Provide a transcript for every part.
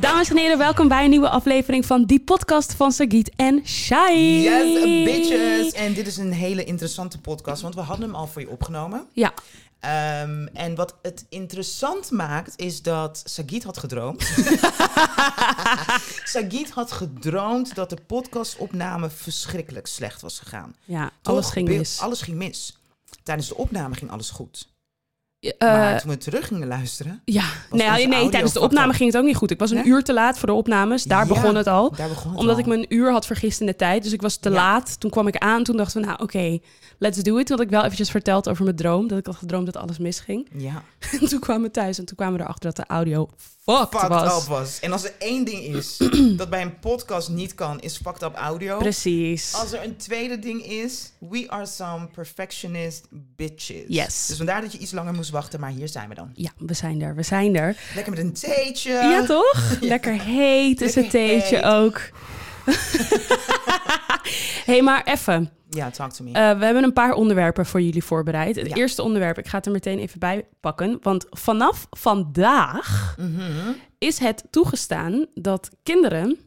Dames en heren, welkom bij een nieuwe aflevering van die podcast van Sagiet en Shai. Yes, bitches! En dit is een hele interessante podcast, want we hadden hem al voor je opgenomen. Ja, Ehm, en wat het interessant maakt, is dat Sagit had gedroomd. Sagit had gedroomd dat de podcastopname verschrikkelijk slecht was gegaan. ja Toch? alles ging Be- mis. Alles ging mis. Tijdens de opname ging alles goed. Eh, maar toen we terug gingen luisteren, ja, onze nee, nee audio tijdens de fucked opname up? ging het ook niet goed. Ik was een Nee? uur te laat voor de opnames, dus daar Ja. begon het al. daar begon het Omdat al. ik me een uur had vergist in de tijd, dus ik was te Ja. laat. Toen kwam ik aan, toen dachten we, nou oké, let's do it. Toen had ik wel eventjes verteld over mijn droom, dat ik had gedroomd dat alles misging. Ja, En toen kwamen we thuis en toen kwamen we erachter dat de audio fucked, fucked was. up was. En als er één ding is dat bij een podcast niet kan, is fucked up audio. Precies. Als er een tweede ding is, we are some perfectionist bitches. Yes. Dus vandaar dat je iets langer moest wachten, maar hier zijn we dan. Ja, we zijn er, we zijn er. Lekker met een theetje. ja, toch? Lekker heet is het Lekker theetje heet. ook. Hé, hey, maar even. Ja, talk to me. Eh, we hebben een paar onderwerpen voor jullie voorbereid. Het Ja. eerste onderwerp, ik ga het er meteen even bij pakken. Want vanaf vandaag Mhm. is het toegestaan dat kinderen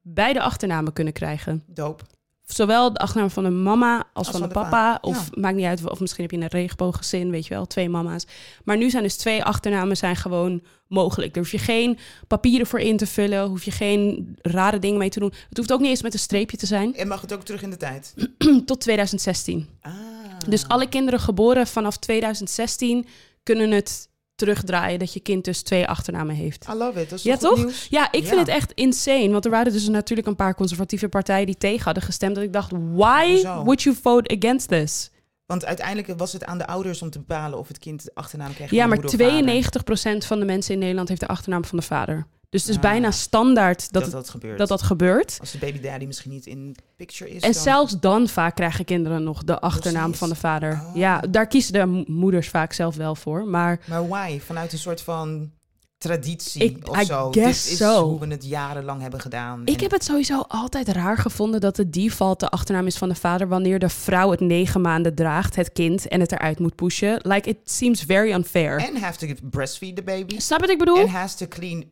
beide achternamen kunnen krijgen. Doop. Zowel de achternaam van de mama als, van, de papa. pa. Of maakt niet uit, of misschien heb je een regenbooggezin, weet je wel, twee mama's. Maar nu zijn dus twee achternamen zijn gewoon mogelijk. Daar hoef je geen papieren voor in te vullen, hoef je geen rare dingen mee te doen. Het hoeft ook niet eens met een streepje te zijn. En mag het ook terug in de tijd? Tot 2016. Ah. Dus alle kinderen geboren vanaf 2016 kunnen het terugdraaien dat je kind dus twee achternamen heeft. I love it. Dat is Ja, goed toch? nieuws. Ja, ik vind Ja. het echt insane. Want er waren dus natuurlijk een paar conservatieve partijen die tegen hadden gestemd. Dat ik dacht, why Hoezo? would you vote against this? Want uiteindelijk was het aan de ouders om te bepalen of het kind de achternaam kreeg. Ja, van maar moeder of vader. 92% van de mensen in Nederland heeft de achternaam van de vader. Dus het is Ah. bijna standaard dat dat het- dat, gebeurt. dat, dat gebeurt. Als de baby daddy misschien niet in picture is. En dan- zelfs dan vaak krijgen kinderen nog de achternaam Precies. van de vader. Oh. Ja, daar kiezen de mo- moeders vaak zelf wel voor. Maar Maar why? Vanuit een soort van traditie Ik- of I zo. guess Dit is so. hoe we het jarenlang hebben gedaan. Ik En- heb het sowieso altijd raar gevonden dat de default de achternaam is van de vader wanneer de vrouw het negen maanden draagt, het kind, en het eruit moet pushen. Like, it seems very unfair. En have to breastfeed the baby. Snap je wat ik bedoel? En has to clean.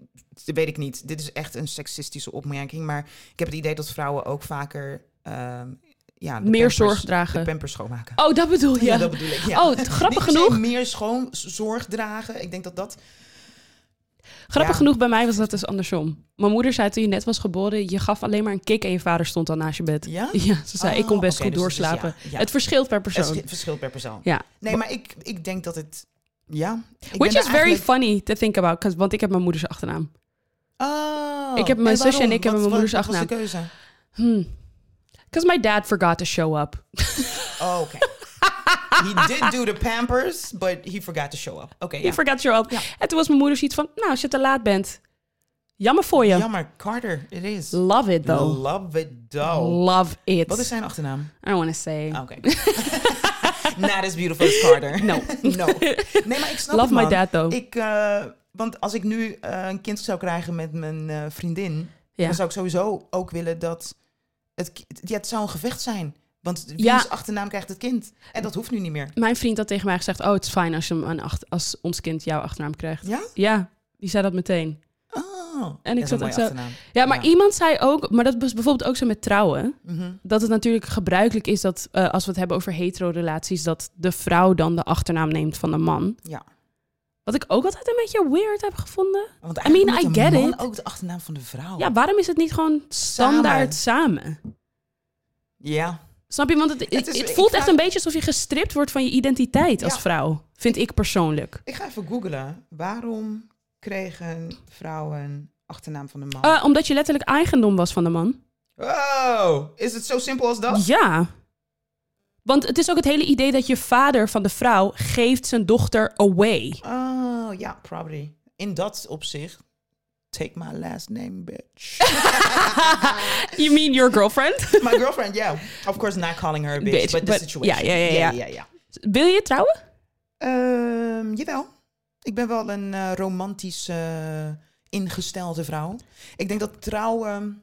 Dat weet ik niet. Dit is echt een seksistische opmerking. Maar ik heb het idee dat vrouwen ook vaker. ehm, ja, de Meer pampers- zorg De dragen. pampers schoonmaken. Oh, dat bedoel je. Ja, dat bedoel ik. Ja. Oh, t- grappig Niet per se genoeg. Meer schoon zorg dragen. Ik denk dat dat. Grappig Ja. genoeg, bij mij was dat dus andersom. Mijn moeder zei toen je net was geboren, je gaf alleen maar een kick en je vader stond al naast je bed. Ja? Ja, ze zei, Oh, ik kon best oké, goed dus het is- doorslapen. ja, ja. Het verschilt per Het persoon. schi- verschilt per persoon. Ja. Nee, maar ik, ik denk dat het. Ja. Ik ben Which daar is very eigenlijk- funny to think about, 'cause- want ik heb mijn moeders achternaam. Oh. Ik heb mijn zusje en waarom? ik hebben Wat- mijn wat- moeders Wat was de keuze? Because my dad forgot to show up. Oh, oké. he did do the pampers, but he forgot to show up. Oké, Je ja. forgot your own. En toen was mijn moeder zoiets van, nou, als je te laat bent, jammer voor je. Jammer, Carter, it is. Love it, though. Love it though. Love it. Wat is zijn achternaam? I don't want to say. Ah, Oké. Not as beautiful as Carter. No. no. Nee, maar ik snap Love het, man. my dad, though. Ik, eh, want als ik nu eh, een kind zou krijgen met mijn eh, vriendin, Ja. dan zou ik sowieso ook willen dat het, ki- ja, het zou een gevecht zijn. Want wie Ja. is achternaam krijgt het kind. En dat hoeft nu niet meer. Mijn vriend had tegen mij gezegd, oh, het is fijn als, je hem een acht- als ons kind jouw achternaam krijgt. Ja? Ja, die zei dat meteen. Oh. En ik dat is een zat ook mooie zo- achternaam. Ja, maar Ja. iemand zei ook, maar dat was bijvoorbeeld ook zo met trouwen, Mhm. dat het natuurlijk gebruikelijk is dat eh, als we het hebben over hetero-relaties, dat de vrouw dan de achternaam neemt van de man. Ja. Wat ik ook altijd een beetje weird heb gevonden. Want I mean, eigenlijk moet I een get man it. ook de achternaam van de vrouw. Ja, waarom is het niet gewoon standaard samen? Ja. Snap je? Want het, het, is- het ik voelt vraag- echt een beetje alsof je gestript wordt van je identiteit als Ja. vrouw. Vind ik persoonlijk. Ik ga even googlen. Waarom kregen vrouwen achternaam van de man? Eh, omdat je letterlijk eigendom was van de man. Wow, Oh, is het zo simpel als dat? Ja. Want het is ook het hele idee dat je vader van de vrouw geeft zijn dochter away. Oh, ja, probably. In dat opzicht, take my last name, bitch. You mean your girlfriend? my girlfriend, yeah. Of course, not calling her a bitch, Bitch, but, but- the situation. ja, ja, ja, ja. ja, ja. Wil je trouwen? Ehm, jawel. Ik ben wel een eh, romantisch eh, ingestelde vrouw. Ik denk dat trouwen...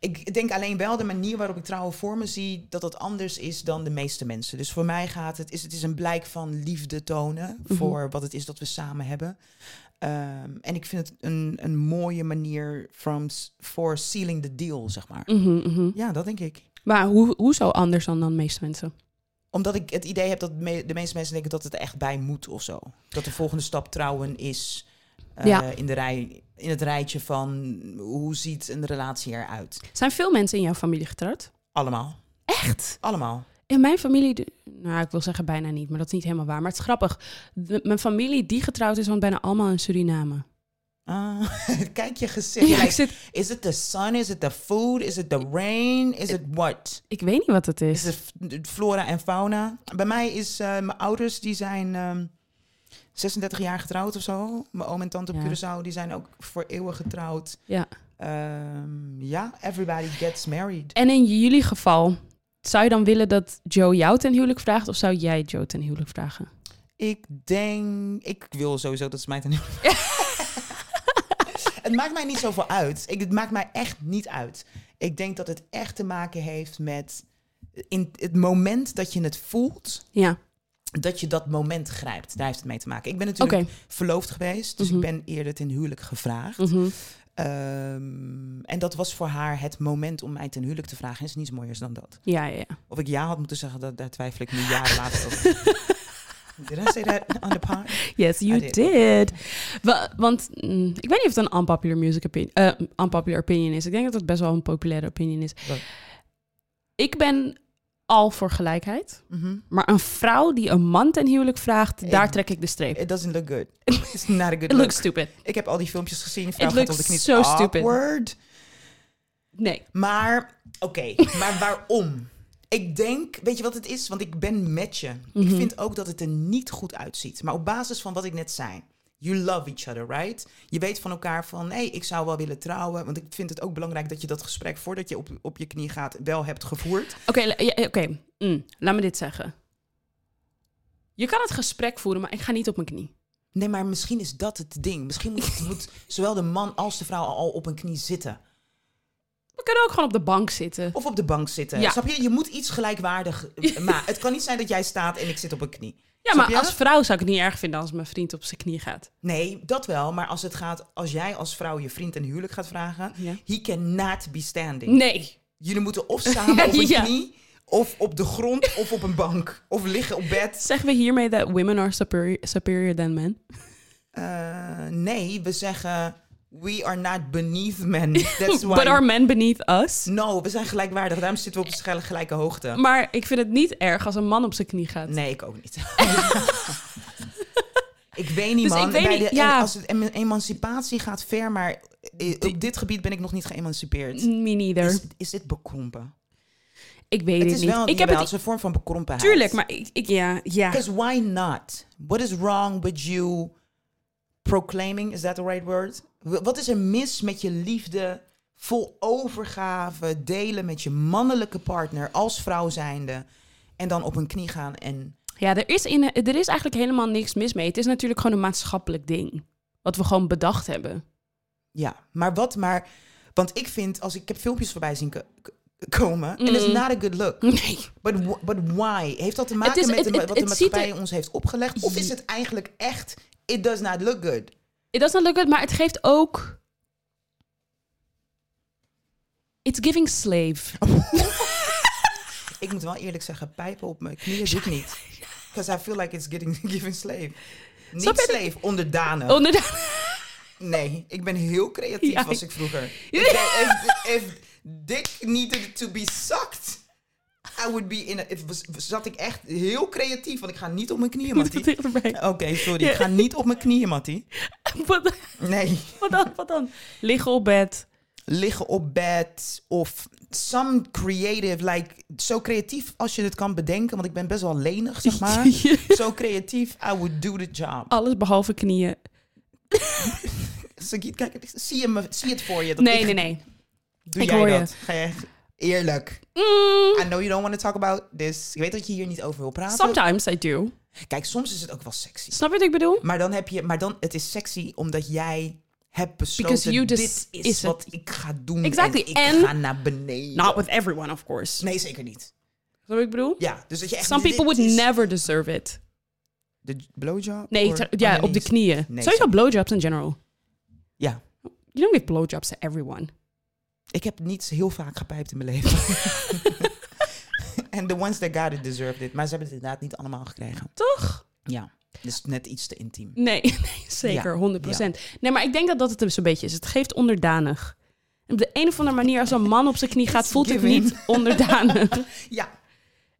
Ik denk alleen wel de manier waarop ik trouwen voor me zie... dat dat anders is dan de meeste mensen. Dus Mhm. voor mij gaat het... Is, het is een blijk van liefde tonen... voor wat het is dat we samen hebben. Ehm, en ik vind het een, een mooie manier from, s- for sealing the deal, zeg maar. Mhm, mhm. Ja, dat denk ik. Maar hoe, hoezo anders dan dan de meeste mensen? Omdat ik het idee heb dat me- de meeste mensen denken dat het er echt bij moet of zo. Dat de volgende stap trouwen is eh, Ja. in, de rij, in het rijtje van hoe ziet een relatie eruit. Zijn veel mensen in jouw familie getrouwd? Allemaal. Echt? Allemaal. In mijn familie, de- nou ik wil zeggen bijna niet, maar dat is niet helemaal waar. Maar het is grappig. De- mijn familie die getrouwd is, want bijna allemaal in Suriname. Ah, kijk je gezicht. Ja, ik, Like, zit, is het the sun? Is het the food? Is het the rain? Is het what? ik weet niet wat het is. Is het f- de flora en fauna? Bij mij is eh, mijn ouders die zijn ehm, 36 jaar getrouwd of zo. Mijn oom en tante op Ja. Curaçao die zijn ook voor eeuwen getrouwd. Ja. Ehm, ja, everybody gets married. En in jullie geval, zou je dan willen dat Joe jou ten huwelijk vraagt? Of zou jij Joe ten huwelijk vragen? Ik denk, ik wil sowieso dat ze mij ten Het maakt mij niet zoveel uit. Ik, het maakt mij echt niet uit. Ik denk dat het echt te maken heeft met in het moment dat je het voelt, Ja, dat je dat moment grijpt. Daar heeft het mee te maken. Ik ben oké. natuurlijk verloofd geweest, dus Mhm. ik ben eerder ten huwelijk gevraagd. Mhm. Ehm, en dat was voor haar het moment om mij ten huwelijk te vragen. En is niets mooiers dan dat. Ja, ja, ja. Of ik ja had moeten zeggen, dat, daar twijfel ik nu jaren later over. Did I say that on the pod? Yes, you I did. did. Wa- want mm, ik weet niet of het een unpopular, music opinion, eh, unpopular opinion is. Ik denk dat het best wel een populaire opinion is. Wat? Ik ben al voor gelijkheid. Mhm. Maar een vrouw die een man ten huwelijk vraagt, Ik- daar trek ik de streep. It doesn't look good. It's not a It good look. looks stupid. Ik heb al die filmpjes gezien. Vrouw It gaat looks op de knie. so stupid. Awkward. Nee. Maar, oké. maar waarom? Ik denk, weet je wat het is? Want ik ben met je. Mhm. Ik vind ook dat het er niet goed uitziet. Maar op basis van wat ik net zei. You love each other, right? Je weet van elkaar van, hé, hey, ik zou wel willen trouwen. Want ik vind het ook belangrijk dat je dat gesprek voordat je op, op je knie gaat wel hebt gevoerd. Oké, la- ja, oké. Mm, laat me dit zeggen. Je kan het gesprek voeren, maar ik ga niet op mijn knie. Nee, maar misschien is dat het ding. Misschien moet, moet zowel de man als de vrouw al op een knie zitten. We kunnen ook gewoon op de bank zitten. Of op de bank zitten. Ja. Snap je? Je moet iets gelijkwaardig maken. Het kan niet zijn dat jij staat en ik zit op een knie. Ja, Snap maar je? als vrouw zou ik het niet erg vinden als mijn vriend op zijn knie gaat. Nee, dat wel. Maar als het gaat, als jij als vrouw je vriend een huwelijk gaat vragen, Ja. he cannot be standing. Nee. Jullie moeten of samen op een Ja. knie, of op de grond, of op een bank, of liggen op bed. Zeggen we hiermee dat women are superior, superior than men? Eh, nee, we zeggen we are not beneath men. That's why. But are men beneath us? No, we zijn gelijkwaardig. Daarom zitten we op de schelle- gelijke hoogte. Maar ik vind het niet erg als een man op zijn knie gaat. Nee, ik ook niet. ik weet niet, Dus man. ik weet Bij niet, de- ja. Als het, em- emancipatie gaat ver, maar eh, op dit gebied ben ik nog niet geëmancipeerd. Me neither. Is, is dit bekrompen? Ik weet Het het, is niet. wel, ik heb het, is een vorm van bekrompenheid. Tuurlijk, maar ik, ik ja, ja. Because why not? What is wrong with you proclaiming? Is that the right word? W- Wat is er mis met je liefde vol overgave delen met je mannelijke partner als vrouw zijnde en dan op een knie gaan en Ja, er is, in, er is eigenlijk helemaal niks mis mee. Het is natuurlijk gewoon een maatschappelijk ding. Wat we gewoon bedacht hebben. Ja, maar wat maar. Want ik vind, als ik, ik heb filmpjes voorbij zien ko- ko- komen. En it's Mm. not a good look. Nee. But, wh- but why? Heeft dat te maken is- met het- de ma- het- wat de het ziet er- maatschappij ons heeft opgelegd? Of is het eigenlijk echt, it does not look good? It doesn't look good, maar het geeft ook... It's giving slave. Oh, Ik moet wel eerlijk zeggen, pijpen op mijn knieën doe ik niet. Because I feel like it's getting given slave. Niet Snap je? slave, onderdanen. Onder- nee, ik ben heel creatief Ja, was ik- ik vroeger. Ik denk, if, if dick needed to be sucked, I would be in a... It was, zat ik echt heel creatief, want ik ga niet op mijn knieën, Moet het Mattie. dichterbij. Oké, sorry, ik ga niet op mijn knieën, Mattie. Wat, Nee. wat dan? Wat dan? Liggen op bed. Liggen op bed of some creative, like zo creatief als je het kan bedenken, want ik ben best wel lenig, zeg maar. zo creatief, I would do the job. Alles behalve knieën. Sagiet, kijk, zie, je me, zie het voor je. dat Oh. Nee, ik- nee, nee. Doe Ik jij hoor je. Mm. dat? Ga jij, eerlijk. I know you don't want to talk about this. Ik weet dat je hier niet over wil praten. Sometimes I do. Kijk, soms is het ook wel sexy. Snap je wat ik bedoel? Maar dan heb je, maar dan, het is sexy omdat jij hebt Because besloten, you dit just- is, is wat ik ga doen Exactly, en ik en- ga naar beneden. Not with everyone, of course. Nee, zeker niet. Snap je wat ik bedoel? Ja, dus dat je echt... Some dit people would is- never deserve it. De j- blowjob? Nee, or- ter- oh, ja, nee, op de niet. knieën. Nee, Sowieso blowjobs in general. Ja. You don't give blowjobs to everyone. Ik heb niet heel vaak gepijpt in mijn leven. En the ones that got it deserved it. Maar ze hebben het inderdaad niet allemaal gekregen. Toch? Mm. Ja. Dus net iets te intiem. Nee, nee zeker, 100%. Nee, maar ik denk dat dat het zo'n beetje is. Het geeft onderdanig. En op de een of andere manier, als een man op zijn knie gaat, It's voelt het giving. niet onderdanig. Ja.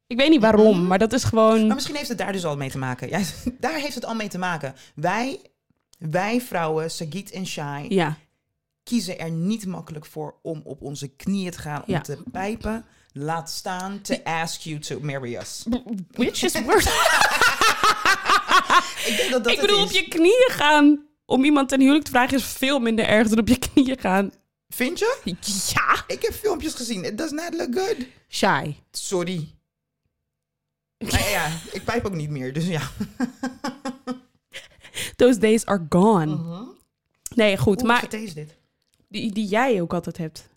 Ik weet niet waarom, maar dat is Maar gewoon... misschien heeft het daar dus al mee te maken. Ja, daar heeft het al mee te maken. Wij, wij vrouwen, Sagit en Shai, Ja, kiezen er niet makkelijk voor om op onze knieën te gaan, om Ja. te pijpen. Laat staan to ask you to marry us. which is worse. Ik, denk dat dat ik het bedoel, op is. je knieën gaan om iemand ten huwelijk te vragen is veel minder erg dan op je knieën gaan. Vind je? Ja, Ik heb filmpjes gezien. It does not look good. shy. Sorry. Maar ja, ik pijp ook niet meer, dus ja. Those days are gone. Mhm. Nee, goed, Hoe maar verteer is dit? die, die jij ook altijd hebt.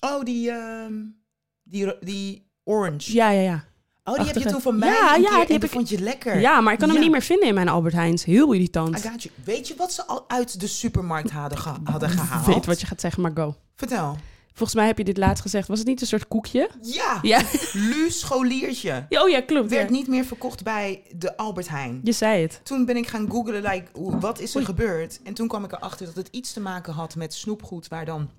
Oh, die, ehm, die, ro- die orange. Ja, ja, ja. Oh, die heb je Achtige. toen van mij Ja, een ja, die keer en heb die ik- vond je lekker. Ja, maar ik kan hem Ja. niet meer vinden in mijn Albert Heijns. Heel irritant. I got you. Weet je wat ze al uit de supermarkt hadden, geha- hadden gehaald? Ik weet wat je gaat zeggen, maar go. Vertel. Volgens mij heb je dit laatst gezegd. Was het niet een soort koekje? Ja, Ja. Lu Scholiertje. Ja, Oh ja, klopt. ja. Ah. Werd niet meer verkocht bij de Albert Heijn. Je zei het. Toen ben ik gaan googlen, like, hoe- wat is er Oei. gebeurd? En toen kwam ik erachter dat het iets te maken had met snoepgoed, waar dan,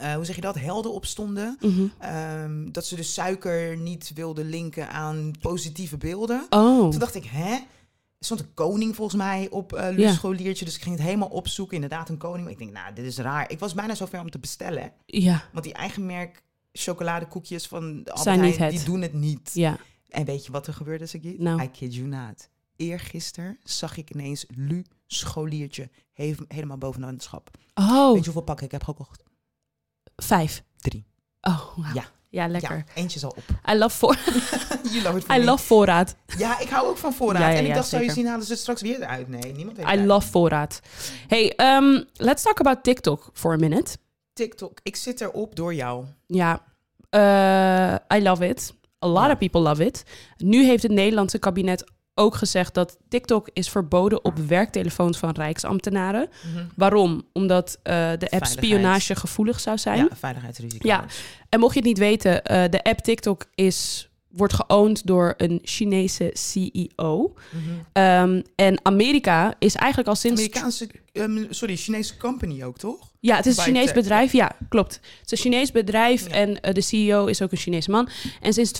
eh, hoe zeg je dat, helden op stonden. Ehm, dat ze de suiker niet wilden linken aan positieve beelden. Oh. Toen dacht ik, hè? Er stond een koning volgens mij op eh Luus Ja. Scholiertje. Dus ik ging het helemaal opzoeken. Inderdaad, een koning. Maar ik denk, nou, dit is raar. Ik was bijna zover om te bestellen. Ja, Want die eigen merk chocoladekoekjes van de Albert Zijn niet Heijn, het. die doen het niet. ja. En weet je wat er gebeurde, Sagit? Nou. I kid you not. Eergisteren zag ik ineens Lu Scholiertje hef- helemaal bovenaan het schap. Oh, Weet je hoeveel pakken ik heb gekocht? vijf. Drie. Oh, wauw. Ja. Ja, lekker. Ja, eentje is al op. I, love voor You love it for I me. love voorraad. Ja, ik hou ook van voorraad. Ja, ja, en ik ja, dacht, zou je zeker. zien, halen ze het straks weer eruit? Nee, niemand weet I het. love voorraad. Hey, ehm, let's talk about TikTok for a minute. TikTok, ik zit erop door jou. Ja, eh, I love it. A lot Ja. of people love it. Nu heeft het Nederlandse kabinet ook gezegd dat TikTok is verboden op werktelefoons van rijksambtenaren. Waarom? Omdat eh, de app Veiligheid. spionage gevoelig zou zijn. Ja, veiligheidsrisico. Ja. En mocht je het niet weten, eh, de app TikTok is, wordt geowned door een Chinese CEO. Mhm. Ehm, en Amerika is eigenlijk al sinds... Amerikaanse, ehm, sorry, Chinese company ook, toch? Ja, het is een Bytec, Chinees bedrijf. Ja, klopt. Het is een Chinees bedrijf Ja. en eh, de CEO is ook een Chinese man. En sinds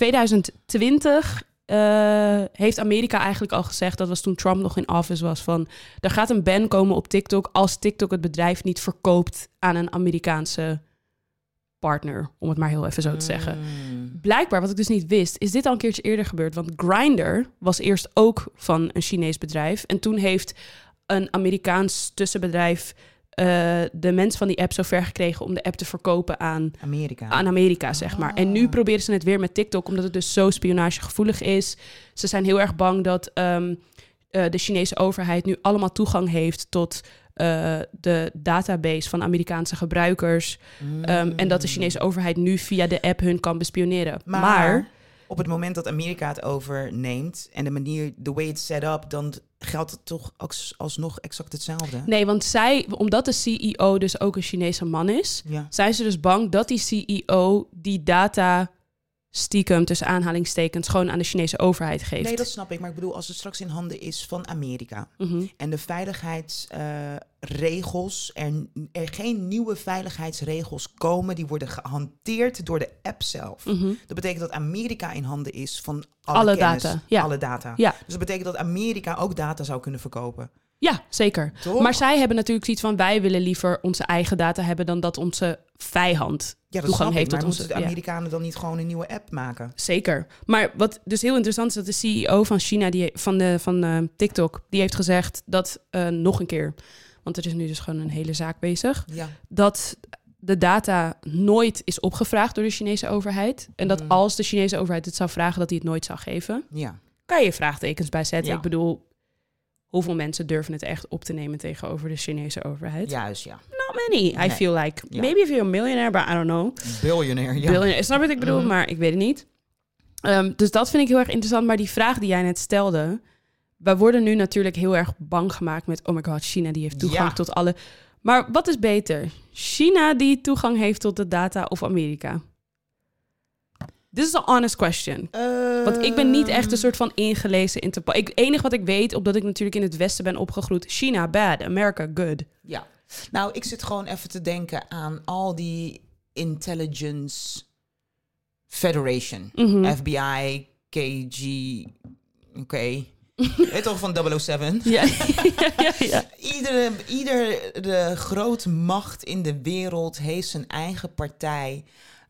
2020 eh, heeft Amerika eigenlijk al gezegd, dat was toen Trump nog in office was, van er gaat een ban komen op TikTok als TikTok het bedrijf niet verkoopt aan een Amerikaanse partner, om het maar heel even zo te zeggen. Mm. Blijkbaar, wat ik dus niet wist, is dit al een keertje eerder gebeurd. Want Grindr was eerst ook van een Chinees bedrijf. En toen heeft een Amerikaans tussenbedrijf eh, de mensen van die app zo ver gekregen om de app te verkopen aan, Amerika. aan Amerika, zeg maar. En Ah. nu proberen ze het weer met TikTok, omdat het dus zo spionagegevoelig is. Ze zijn heel erg bang dat ehm, eh, de Chinese overheid nu allemaal toegang heeft tot eh, de database van Amerikaanse gebruikers. Ehm, En dat de Chinese overheid nu via de app hun kan bespioneren. Maar, Hmm. Maar, op het moment dat Amerika het overneemt en de manier, the way it's set up, dan geldt het toch als, alsnog exact hetzelfde. nee, want zij, omdat de CEO dus ook een Chinese man is, Ja. zijn ze dus bang dat die CEO die data stiekem tussen aanhalingstekens gewoon aan de Chinese overheid geeft. Nee, dat snap ik. Maar ik bedoel, als het straks in handen is van Amerika Mhm. en de veiligheidsregels, eh, er, er geen nieuwe veiligheidsregels komen, die worden gehanteerd door de app zelf. Mhm. Dat betekent dat Amerika in handen is van alle, Alle kennis, data, ja. alle data. Ja. Dus dat betekent dat Amerika ook data zou kunnen verkopen. Ja, zeker. Toch? Maar zij hebben natuurlijk zoiets van wij willen liever onze eigen data hebben dan dat onze vijand ja, dat snap toegang ik, heeft maar tot onze. moeten de ja. Amerikanen dan niet gewoon een nieuwe app maken? Zeker. Maar wat dus heel interessant is, dat de CEO van China, die, van, de, van eh, TikTok, die heeft gezegd dat eh, nog een keer, want er is nu dus gewoon een hele zaak bezig, Ja. dat de data nooit is opgevraagd door de Chinese overheid. En dat als de Chinese overheid het zou vragen, dat hij het nooit zou geven. Ja. Kan je vraagtekens bij zetten? Ja. Ik bedoel, hoeveel mensen durven het echt op te nemen tegenover de Chinese overheid? Juist, ja. Not many, I Nee. feel like. Ja. Maybe if you're a millionaire, but I don't know Biljonair, ja. billionaire. Snap je wat ik bedoel? Mhm. Maar ik weet het niet. Ehm, dus dat vind ik heel erg interessant. Maar die vraag die jij net stelde, we worden nu natuurlijk heel erg bang gemaakt met, oh my god, China die heeft toegang Ja. tot alle. Maar wat is beter? China die toegang heeft tot de data of Amerika? This is an honest question. Want ik ben niet Ehm, echt een soort van ingelezen interpol. Ik enig wat ik weet, omdat ik natuurlijk in het Westen ben opgegroeid. China bad, America good. Ja. Nou, ik zit gewoon even te denken aan al die intelligence federation. Mhm. FBI, KG, oké. Weet toch van 007? Ja, ja, ja, ja. Iedere, iedere grote macht in de wereld heeft zijn eigen partij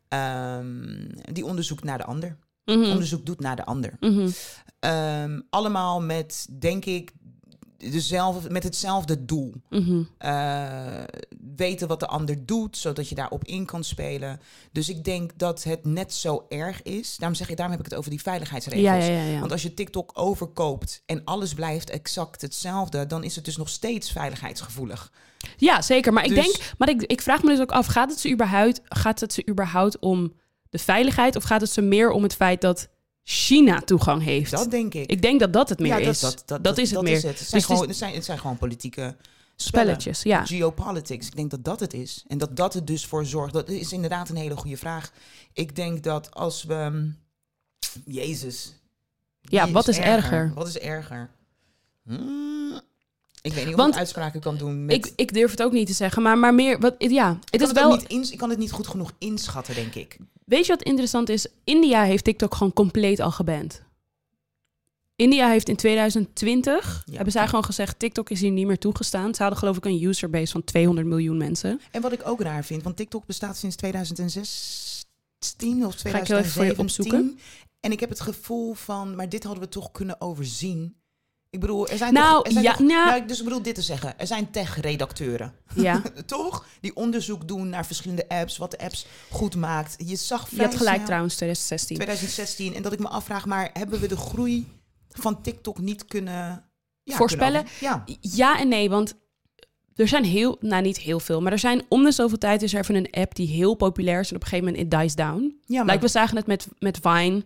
ehm, die onderzoek naar de ander. Mhm, Onderzoek doet naar de ander. mhm. Ehm, allemaal met, denk ik, dezelfde, met hetzelfde doel. Mhm. Eh, weten wat de ander doet, zodat je daarop in kan spelen. Dus ik denk dat het net zo erg is. Daarom, zeg ik, daarom heb ik het over die veiligheidsregels. Ja, ja, ja, ja. Want als je TikTok overkoopt en alles blijft exact hetzelfde, dan is het dus nog steeds veiligheidsgevoelig. Ja, zeker. Maar ik Dus- denk, maar ik, ik vraag me dus ook af: gaat het, ze überhaupt, gaat het ze überhaupt om de veiligheid of gaat het ze meer om het feit dat China toegang heeft? Dat denk ik. ik denk dat dat het meer ja, is. Dat is het meer. Dus Het, zijn het is- gewoon, het, zijn, het zijn gewoon politieke spellen. Spelletjes, ja. Geopolitics. Ik denk dat dat het is. En dat dat het dus voor zorgt. Dat is inderdaad een hele goede vraag. Ik denk dat als we. ehm, Jezus. Ja, Wie wat is erger? Wat is erger? Hmm, ik weet niet Want of ik uitspraken kan doen. Met, Ik, ik durf het ook niet te zeggen, maar, maar meer, wat, ja, ik, het kan is het ook wel. niet ins- ik kan het niet goed genoeg inschatten, denk ik. Weet je wat interessant is? India heeft TikTok gewoon compleet al geband. India heeft in 2020 Ja. hebben zij gewoon gezegd: TikTok is hier niet meer toegestaan. Ze hadden, geloof ik, een userbase van 200 miljoen mensen. En wat ik ook raar vind, want TikTok bestaat sinds 2016 of Ga ik heel even voor je 2017. opzoeken. En ik heb het gevoel van, maar dit hadden we toch kunnen overzien. Ik bedoel, er zijn Nou, toch, er zijn ja, toch- nou- nou, ik- dus ik bedoel dit te zeggen. Er zijn tech-redacteuren, Ja. toch? Die onderzoek doen naar verschillende apps, wat de apps goed maakt. Je zag Je had vrij gelijk snel trouwens, 2016. 2016 en dat ik me afvraag, maar hebben we de groei van TikTok niet kunnen ja, Voorspellen? kunnen over- ja. Ja en nee, want er zijn heel, nou niet heel veel, maar er zijn om de zoveel tijd is er even een app die heel populair is en op een gegeven moment it dies down. ja, maar Like we zagen het met, met Vine.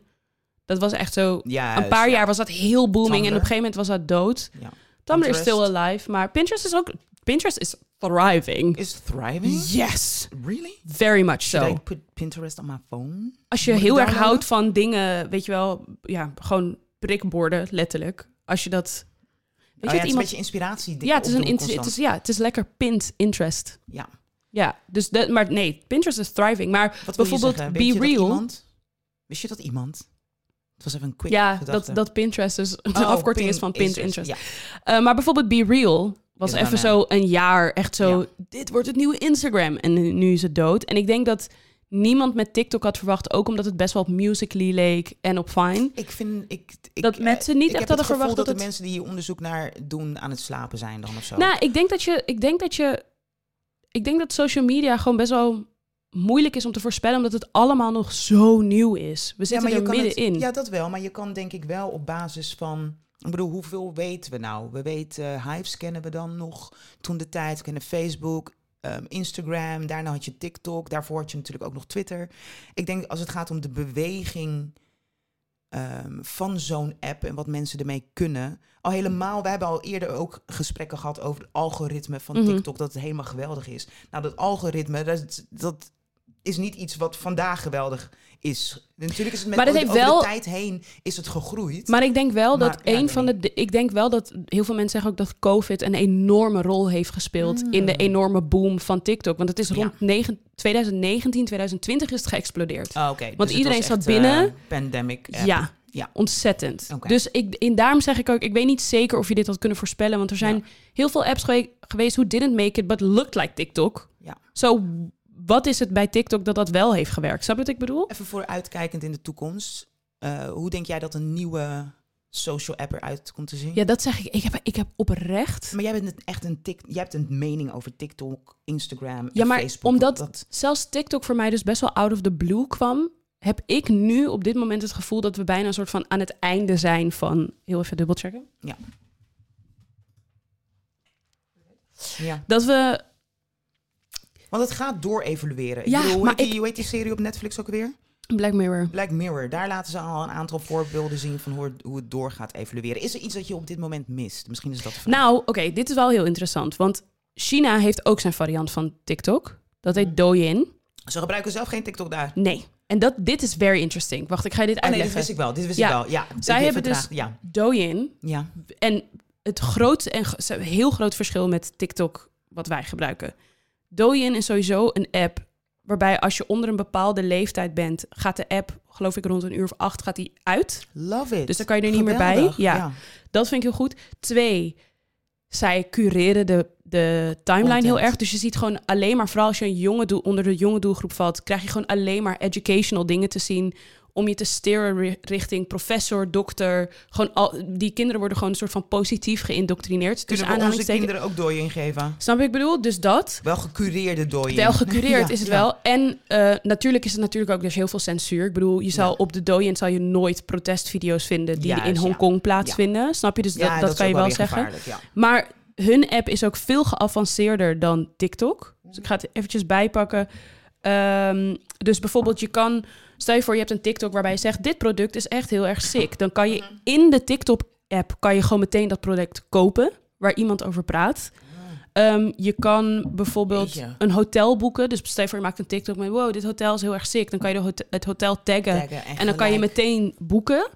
Dat was echt zo. Juist, Een paar ja. jaar was dat heel booming en op Tumblr. een gegeven moment was dat dood. Ja. Tumblr is Pinterest. still alive, maar Pinterest is ook. Pinterest is thriving. Is thriving? Yes, Really? very much Should I so. put Pinterest on my phone? Als je Moet ik heel erg downloaden? houdt van dingen, weet je wel, ja, gewoon prikborden, letterlijk. Als je dat. Weet Oh je ja, dat het is een iemand beetje inspiratie. Ja, het is, een opdoen int- het constant. is, ja, het is lekker pint interest. Ja. Ja, dus dat, maar nee, Pinterest is thriving. Maar Wat wil je bijvoorbeeld zeggen? Weet Be je dat Real. iemand- Wist je dat iemand? Het was even een quick Ja, dat, gedachte. dat Pinterest dus een eh. Oh, afkorting is van Pint Pinterest, Interest. Eh, maar bijvoorbeeld Be Real was Is even dan, zo een jaar echt zo, Ja. dit wordt het nieuwe Instagram. En nu- nu is het dood. En ik denk dat niemand met TikTok had verwacht, ook omdat het best wel op Musical.ly leek en op Vine. Ja. Ik vind... Ik, ik, Dat eh, mensen niet ik echt heb hadden het gevoel verwacht dat dat de het- mensen die hier onderzoek naar doen aan het slapen zijn dan of zo. Nou, ik denk dat je, ik denk dat je, ik denk dat social media gewoon best wel moeilijk is om te voorspellen, omdat het allemaal nog zo nieuw is. We zitten er kan het- middenin. Ja, dat wel. Maar je kan denk ik wel op basis van... Ik bedoel, hoeveel weten we nou? We weten, eh, Hives kennen we dan nog toen de tijd. We kennen Facebook, ehm, Instagram. Daarna had je TikTok. Daarvoor had je natuurlijk ook nog Twitter. Ik denk als het gaat om de beweging ehm, van zo'n app... en wat mensen ermee kunnen. Al helemaal, we hebben al eerder ook gesprekken gehad... over het algoritme van Mhm. TikTok, dat het helemaal geweldig is. Nou, dat algoritme, dat, dat is niet iets wat vandaag geweldig is. Natuurlijk is het met Maar dat over- heeft over wel- de tijd heen is het gegroeid. Maar ik denk wel dat Maar, ja, een ik van de. weet de- Ik denk wel dat heel veel mensen zeggen ook dat COVID een enorme rol heeft gespeeld in Hmm. de enorme boom van TikTok. Want het is rond negen- 2019, 2020 is het geëxplodeerd. Ah, Oké, Want het iedereen was zat echt, binnen. eh, pandemic. app. Ja, Ja. ontzettend. Oké. Dus ik, in daarom zeg ik ook, ik weet niet zeker of je dit had kunnen voorspellen. Want er zijn Ja. heel veel apps gewe- geweest who didn't make it, but looked like TikTok. Ja. Zo, wat is het bij TikTok dat dat wel heeft gewerkt? Snap je wat ik bedoel? Even vooruitkijkend in de toekomst. eh, hoe denk jij dat een nieuwe social app eruit komt te zien? Ja, dat zeg ik. Ik heb, ik heb oprecht. Maar jij bent net echt een tik, jij hebt een mening over TikTok, Instagram, en Ja, maar Facebook. omdat- dat, zelfs TikTok voor mij dus best wel out of the blue kwam, heb ik nu op dit moment het gevoel dat we bijna een soort van aan het einde zijn van. Heel even dubbelchecken. ja. Dat we. Want het gaat door evolueren. Ja, ik bedoel, hoe maar heet die, ik- hoe heet die serie op Netflix ook weer? Black Mirror. Black Mirror, daar laten ze al een aantal voorbeelden zien van hoe, het- hoe het door gaat evolueren. Is er iets dat je op dit moment mist? Misschien is dat de vraag. Nou, oké, dit is wel heel interessant. Want China heeft ook zijn variant van TikTok. Dat Mm. heet Douyin. Ze gebruiken zelf geen TikTok daar. Nee. En dat, dit is very interesting. Wacht, ik ga je dit Oh nee, dit uitleggen. wist ik wel. Dit wist Ja. ik wel. Ja, ik Zij heb hebben dus- het vraag- Ja, Douyin. ja. En het groot en g- ze hebben een heel groot verschil met TikTok wat wij gebruiken. Douyin is sowieso een app waarbij als je onder een bepaalde leeftijd bent, gaat de app, geloof ik rond een uur of acht, gaat die uit. Love it. Dus dan kan je er niet meer bij. Geweldig, Ja, Dus Dat vind ik heel goed. Twee, zij cureren de, de timeline Content. heel erg. Dus je ziet gewoon alleen maar, vooral als je een jonge doel, onder de jonge doelgroep valt, krijg je gewoon alleen maar educational dingen te zien. Om je te steeren ri- richting professor, dokter. Gewoon al, die kinderen worden gewoon een soort van positief geïndoctrineerd. Dus Kunnen we onze aanhalingstekens. kinderen ook dooien geven? Snap je wat ik bedoel? Dus dat. Wel gecureerde dooien. Wel gecureerd Ja, is het ja. wel. En eh, natuurlijk is het natuurlijk ook dus heel veel censuur. Ik bedoel, je zal Ja. op de Douyin zal je nooit protestvideo's vinden die Juist, in ja. Hongkong plaatsvinden. Snap je? Dus Ja, dat, dat, is kan ook je wel weer zeggen. gevaarlijk, Ja. Maar hun app is ook veel geavanceerder dan TikTok. Dus ik ga het eventjes bijpakken. Ehm, dus bijvoorbeeld, je kan... Stel je voor, je hebt een TikTok waarbij je zegt... dit product is echt heel erg sick. Dan kan je in de TikTok-app... kan je gewoon meteen dat product kopen... waar iemand over praat. Ehm, je kan bijvoorbeeld Jeetje. een hotel boeken. Dus stel je voor, je maakt een TikTok met... wow, dit hotel is heel erg sick. Dan kan je de hotel- het hotel taggen. Taggen en En dan kan je gelijk. meteen boeken.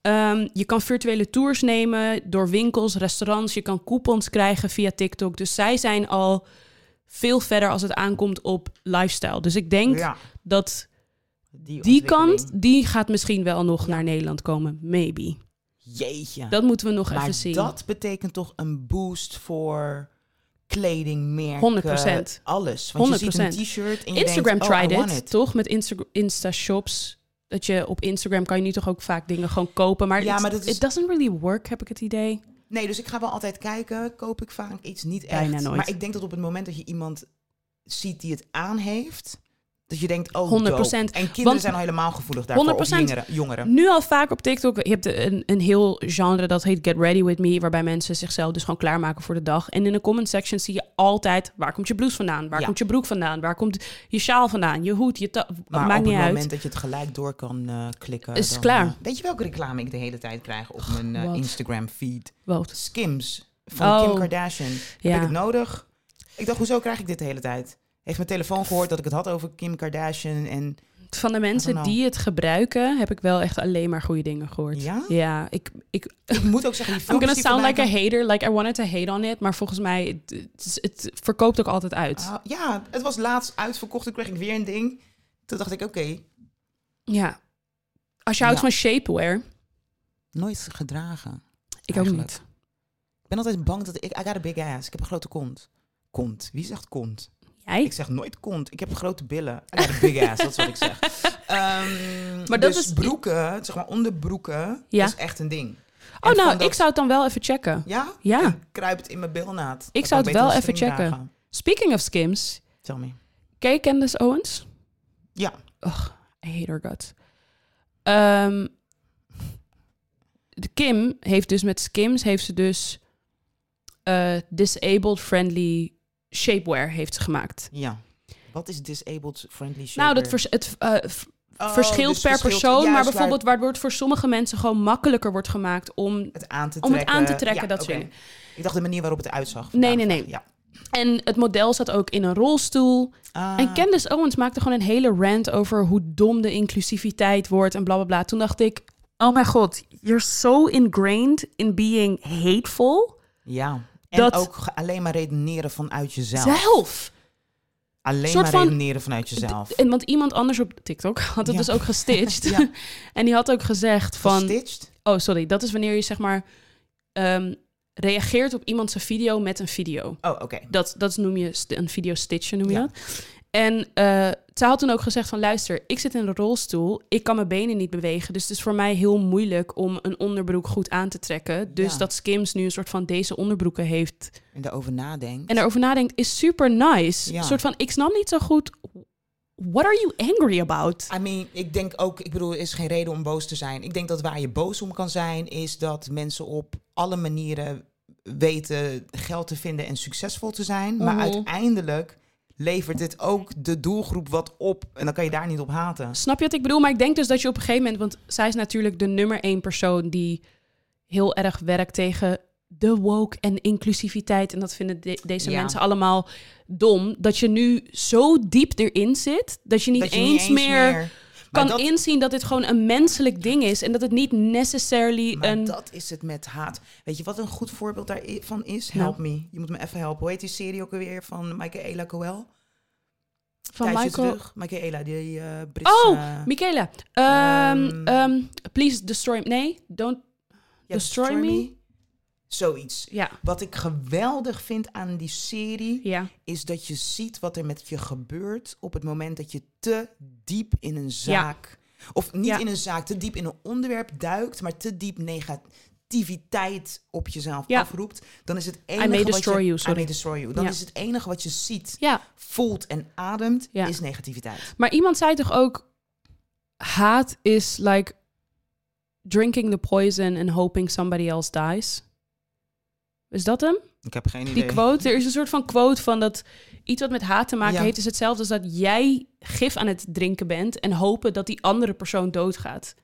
Ehm, je kan virtuele tours nemen door winkels, restaurants. Je kan coupons krijgen via TikTok. Dus zij zijn al veel verder als het aankomt op lifestyle. Dus ik denk Ja, dat die, die ontwikkeling. kant, die gaat misschien wel nog naar Nederland komen. Maybe. Jeetje. Dat moeten we nog maar even zien. dat betekent toch een boost voor kledingmerken. 100%. Alles. Want je ziet 100%. een t-shirt en je Instagram denkt, oh, I tried want it, toch? Met Insta, Insta shops. Dat je op Instagram kan je nu toch ook vaak dingen gewoon kopen. Maar, Ja, it's- maar dat is- it doesn't really work, heb ik het idee. Nee, dus ik ga wel altijd kijken. Koop ik vaak iets niet echt. Bijna nooit. Maar ik denk dat op het moment dat je iemand ziet die het aan heeft, dat je denkt, oh, 100%. dope. En kinderen Want- zijn al helemaal gevoelig daarvoor. 100%. 100%. jongeren. jongeren. Nu al vaak op TikTok. Je hebt een, een heel genre dat heet Get Ready With Me. Waarbij mensen zichzelf dus gewoon klaarmaken voor de dag. En in de comment section zie je altijd... waar komt je blouse vandaan? Waar Ja. komt je broek vandaan? Waar komt je sjaal vandaan? Je hoed, je ta- Maar Maakt op niet het uit. moment dat je het gelijk door kan eh, klikken. Is het dan, klaar. eh, weet je welke reclame ik de hele tijd krijg op mijn eh, wat? Instagram feed? Wat? Skims van Oh. Kim Kardashian. Heb Ja. ik het nodig? Ik dacht, hoezo krijg ik dit de hele tijd? Heeft mijn telefoon gehoord dat ik het had over Kim Kardashian en... Van de mensen know. die het gebruiken... heb ik wel echt alleen maar goede dingen gehoord. Ja? Oh, Ja, ik... ik Ik moet ook zeggen, die I'm filmpjes gonna die sound voorbij like a hater. Like I wanted to hate on it. Maar volgens mij... Het, het is- het verkoopt ook altijd uit. Ah, ja, het was laatst uitverkocht. Toen kreeg ik weer een ding. Toen dacht ik, oké, Ja. Als je houdt Ja. van shapewear... nooit gedragen. Ik ook Eigenlijk. niet. Ik ben altijd bang dat ik... I got a big ass. Ik heb een grote kont. Kont. Wie zegt kont? Jij? Ik zeg nooit kont. Ik heb grote billen. I got a big ass. dat is wat ik zeg. Ehm, Maar dat dus is- broeken, zeg maar onderbroeken, Ja. is echt een ding. Oh, En nou, van dat- ik zou het dan wel even checken. Ja? Ja. En kruipt in mijn bilnaad. Ik Dat zou kan het wel beter een even string checken. dragen. Speaking of skims, Tell me. ken je Candace Owens? Ja. Ugh, I hate her guts. Ehm, de Kim heeft dus met skims, heeft ze dus eh, disabled-friendly shapewear heeft ze gemaakt. Ja. Wat is disabled friendly shaper? Nou, dat vers- het eh, v- Oh, verschilt dus per verschilt- persoon, maar juist, bijvoorbeeld waardoor het voor sommige mensen gewoon makkelijker wordt gemaakt om het aan te Om trekken. het aan te trekken, Ja, dat oké. soort dingen. Ik dacht de manier waarop het uitzag. Nee, nee, vandaag. nee. Ja. En het model zat ook in een rolstoel. Ah, En Candace Owens maakte gewoon een hele rant over hoe dom de inclusiviteit wordt en blablabla. Toen dacht ik, oh mijn god, you're so ingrained in being hateful. ja. En dat- ook ge- alleen maar redeneren vanuit jezelf. Zelf. Alleen Soort maar van- redeneren vanuit jezelf. En want iemand anders op TikTok had het Ja. dus ook gestitcht. Ja. En die had ook gezegd van, Gestitcht? oh sorry, dat is wanneer je zeg maar ehm, reageert op iemand zijn video met een video. Oh, oké. Dat, dat noem je st- een video stitchen, noem je Ja. dat. En eh zij had toen ook gezegd van... luister, ik zit in een rolstoel, ik kan mijn benen niet bewegen... dus het is voor mij heel moeilijk om een onderbroek goed aan te trekken. Dus Ja. dat Skims nu een soort van deze onderbroeken heeft... En daarover nadenken. en erover nadenkt, is super nice. Ja. Een soort van, ik snap niet zo goed... what are you angry about? I mean, ik denk ook, ik bedoel, er is geen reden om boos te zijn. Ik denk dat waar je boos om kan zijn, is dat mensen op alle manieren weten geld te vinden en succesvol te zijn. Maar Mhm. uiteindelijk levert dit ook de doelgroep wat op. En dan kan je daar niet op haten. Snap je wat ik bedoel? Maar ik denk dus dat je op een gegeven moment... Want zij is natuurlijk de nummer één persoon die heel erg werkt tegen de woke en inclusiviteit. En dat vinden de- deze Ja. mensen allemaal dom. Dat je nu zo diep erin zit, dat je niet, dat je eens, niet eens meer... Maar kan dat- inzien dat dit gewoon een menselijk ding is en dat het niet necessarily Maar een. dat is het met haat. Weet je wat een goed voorbeeld daarvan is? Nou. Help me. Je moet me even helpen. Hoe heet die serie ook alweer van Michaela Coel? van Tijdje Michael. terug. Michaela, die eh Britse... Oh, eh, Michaela. Ehm, Ehm. ehm, please destroy me. Nee, don't. ja, Destroy Me? Zoiets. Ja, Wat ik geweldig vind aan die serie... ja. is dat je ziet wat er met je gebeurt... op het moment dat je te diep in een zaak... of niet Ja. in een zaak, te diep in een onderwerp duikt... maar te diep negativiteit op jezelf Ja. afroept... dan is het enige wat destroy je... you, sorry. I may destroy you. Dan Ja. is het enige wat je ziet, Ja, voelt en ademt... Ja. is negativiteit. maar iemand zei toch ook: haat is like drinking the poison and hoping somebody else dies. Is dat hem? Ik heb geen Die quote, er is een soort van quote van dat iets wat met haat te maken Ja. heeft, is hetzelfde als dat jij gif aan het drinken bent en hopen dat die andere persoon doodgaat.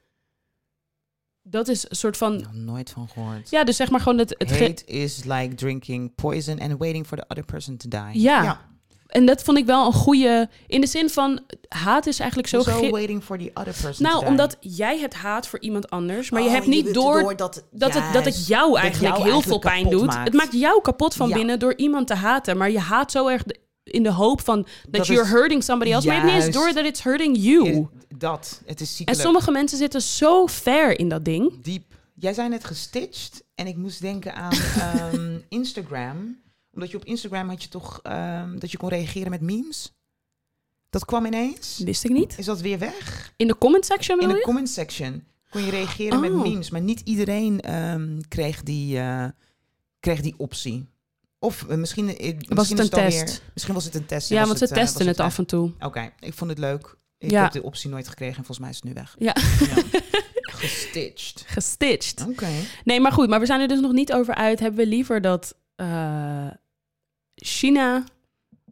Dat is een soort van. Nog nooit van gehoord. Ja, dus zeg maar gewoon dat het. ge- Hate is like drinking poison and waiting for the other person to die. Ja. En dat vond ik wel een goede. In de zin van haat is eigenlijk zo. Zo ge- waiting for the other person to nou, die. omdat jij hebt haat voor iemand anders, maar je Oh, hebt niet doet door, dat, dat, het, dat het Juist. jou Dat eigenlijk jou heel eigenlijk veel pijn kapot doet. maakt. Het maakt jou kapot van Ja. binnen door iemand te haten, maar je haat zo erg de- in de hoop van dat Dat you're is- hurting somebody else, maar je hebt niet eens Juist. door dat it's hurting you. Is dat. Het is En ziekelijk. sommige mensen zitten zo ver in dat ding. Diep. Jij zei net gestitcht en ik moest denken aan ehm, Instagram. Omdat je op Instagram had je toch ehm, dat je kon reageren met memes. Dat kwam ineens. Wist ik niet. Is dat weer weg? In de comment section In bedoel de je? comment section kon je reageren met Oh. memes. Maar niet iedereen ehm, kreeg, die, eh, kreeg die optie. Of eh, misschien, eh, misschien Was het is een dan test? weer- misschien was het een test. en ja, was want ze het, eh, was testen het weg. af en toe. Oké, ik vond het leuk. Ik Ja. heb de optie nooit gekregen en volgens mij is het nu weg. Ja. Gestitcht. Gestitcht. Oké. Nee, maar goed, maar we zijn er dus nog niet over uit. Hebben we liever dat eh, China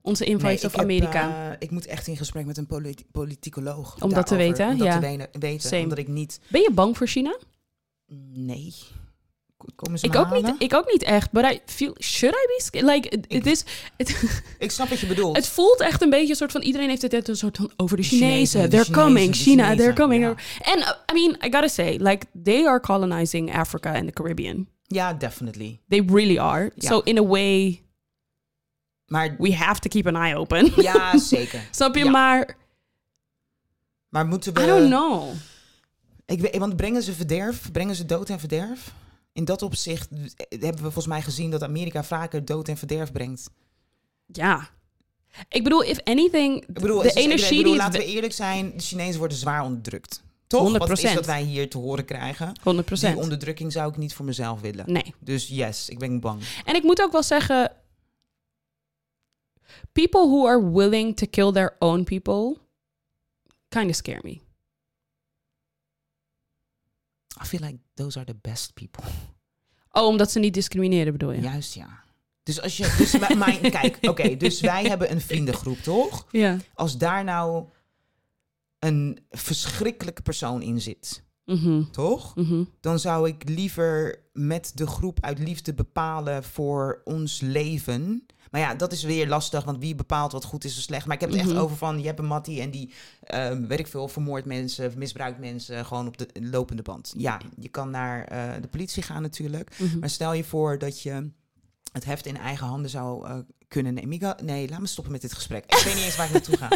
onze invloed Nee, heeft of ik heb, Amerika? eh, ik moet echt in gesprek met een politi- politicoloog. Om dat te daarover, weten, Om dat ja. te wene- weten. Same. Omdat ik niet... Ben je bang voor China? Nee. K- Komen ze Ik me ook, halen? niet, ik ook niet echt. But I feel, should I be scared? Like, it, it Ik- is, Ik snap wat je bedoelt. het voelt echt een beetje een soort van... Iedereen heeft het net een soort van over de De Chinezen, Chinezen. de they're Chinezen, coming, de China, Chinezen, they're coming. ja. En, uh, I mean, I gotta say, like, they are colonizing Africa and the Caribbean. Ja, definitely. They really are. Ja. So in a way, Maar we have to keep an eye open. ja, zeker. Snap je? Ja. Maar, Maar moeten we... I don't know. Ik weet, want brengen ze verderf? Brengen ze dood en verderf? In dat opzicht eh, hebben we volgens mij gezien dat Amerika vaker dood en verderf brengt. Ja. Ik bedoel, if anything, Ik bedoel, de het is- ik energie bedoel, die... laten we eerlijk zijn, de Chinezen worden zwaar onderdrukt. Toch? Wat is 100%. dat wij hier te horen krijgen? 100 Die onderdrukking zou ik niet voor mezelf willen. Nee. Dus yes, ik ben bang. En ik moet ook wel zeggen... People who are willing to kill their own people... kind of scare me. I feel like those are the best people. Oh, omdat ze niet discrimineren bedoel je? Juist ja. Dus als je, dus wij- mijn, kijk, oké, dus wij hebben een vriendengroep, toch? Ja. Als daar nou een verschrikkelijke persoon in zit, Mhm, toch? mhm. Dan zou ik liever met de groep uit liefde bepalen voor ons leven. Maar ja, dat is weer lastig, want wie bepaalt wat goed is of slecht. Maar ik heb het Mhm. echt over van, je hebt een mattie en die, ehm weet ik veel, vermoordt mensen, misbruikt mensen, gewoon op de lopende band. Ja, je kan naar eh, de politie gaan natuurlijk. Mhm. Maar stel je voor dat je het heft in eigen handen zou eh, kunnen nemen. Mika, nee, laat me stoppen met dit gesprek. Ik weet niet eens waar ik naartoe ga.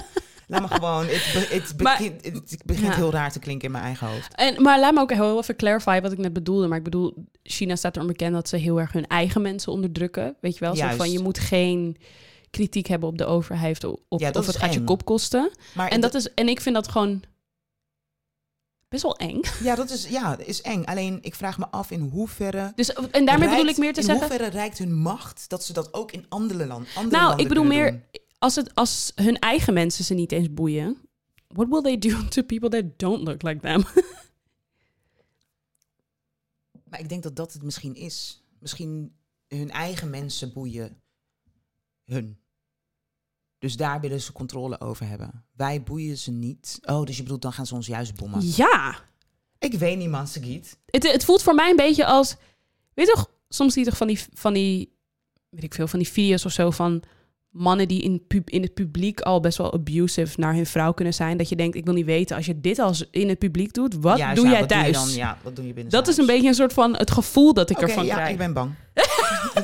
Laat me gewoon. Het, be- het, Maar- begint- het begint Ja. heel raar te klinken in mijn eigen hoofd. En, maar laat me ook heel even clarify wat ik net bedoelde. Maar ik bedoel, China staat erom bekend dat ze heel erg hun eigen mensen onderdrukken. Weet je wel? Zo Juist. van, je moet geen kritiek hebben op de overheid of, op, Ja, dat of is het gaat je eng. kop kosten. Maar En, dat is, en ik vind dat gewoon best wel eng. ja, dat is, ja, is eng. Alleen ik vraag me af in hoeverre. Dus, en daarmee bedoel reikt- ik meer te in zeggen... hoeverre reikt hun macht dat ze dat ook in andere, land, andere Nou, landen ik bedoel kunnen meer doen? als, het, als hun eigen mensen ze niet eens boeien. What will they do to people that don't look like them? Maar ik denk dat dat het misschien is. Misschien hun eigen mensen boeien hun. Dus daar willen ze controle over hebben. Wij boeien ze niet. Oh, dus je bedoelt, dan gaan ze ons juist bommen. Ja. Ik weet niet, man, Sagiet. Het, het voelt voor mij een beetje als... Weet je toch, soms zie je toch van die, van die... Weet ik veel, van die video's of zo van... Mannen die in, pub, in het publiek al best wel abusive naar hun vrouw kunnen zijn. Dat je denkt, ik wil niet weten, als je dit als in het publiek doet, wat Juist, doe ja, jij wat thuis? Doe je dan? Ja, wat doe je binnen Dat is een beetje een soort van het gevoel dat ik Oké, ervan ja, krijg. ik ben bang.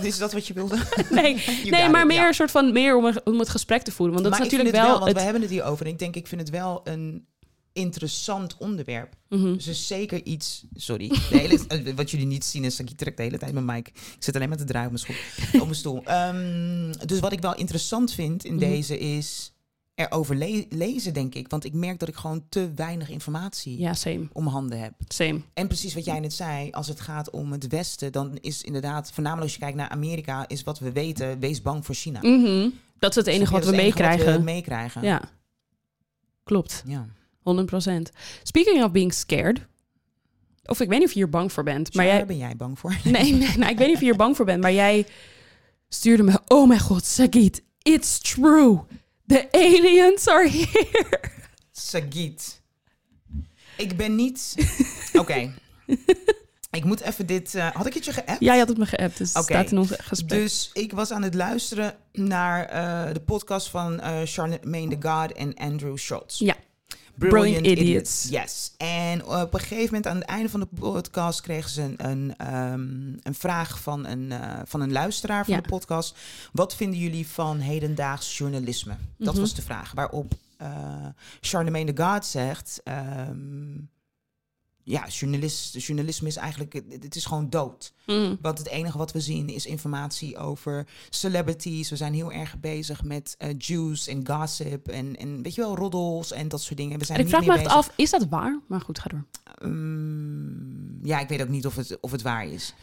is dat wat je wilde? Nee, You nee got maar it, meer ja. een soort van meer om, een- om het gesprek te voeren. Want dat maar is natuurlijk ik vind het wel, het. want we hebben het hier over. En ik denk, ik vind het wel een interessant onderwerp. Mhm. Dus is zeker iets. Sorry. De hele, eh, wat jullie niet zien is dat ik trek de hele tijd mijn mic. Ik zit alleen maar te draaien op mijn, schoen, op mijn stoel. Ehm, dus wat ik wel interessant vind in Mhm. deze is erover le- lezen, denk ik. Want ik merk dat ik gewoon te weinig informatie Ja, same. om handen heb. Same. En precies wat jij net zei, als het gaat om het Westen, dan is inderdaad, voornamelijk als je kijkt naar Amerika, is wat we weten, wees bang voor China. Mhm. Dat is het enige Snap wat we je? Dat Dus is het meekrijgen. enige Wat we meekrijgen. Ja. Klopt, Ja. 100%. Speaking of being scared. Of ik weet niet of je hier bang voor bent. Maar Shara, jij. ben jij bang voor? Nee, nee, nou, ik weet niet of je hier bang voor bent. Maar jij stuurde me. Oh mijn god, Sagit, it's true. The aliens are here. Sagiet. Ik ben niet. Oké. ik moet even dit. eh, had ik het je geappt? Ja, je had het me geappt. Dus het Oké. staat in ons gesprek. Dus ik was aan het luisteren naar eh, de podcast van eh Charlemagne the God en Andrew Schultz. Ja. Brilliant Idiots. Yes. En op een gegeven moment aan het einde van de podcast kregen ze een, een, ehm, een vraag van een, eh, van een luisteraar van Ja. de podcast. Wat vinden jullie van hedendaags journalisme? Dat Mhm. was de vraag waarop eh Charlemagne de God zegt... ehm, ja, journalist, journalisme is eigenlijk... Het, het is gewoon dood. Mhm. Want het enige wat we zien is informatie over celebrities. We zijn heel erg bezig met eh juice en gossip en, en weet je wel, roddels en dat soort dingen. We zijn En ik niet vraag me meer echt bezig- af, is dat waar? Maar goed, ga door. Ehm, ja, ik weet ook niet of het, of het waar is.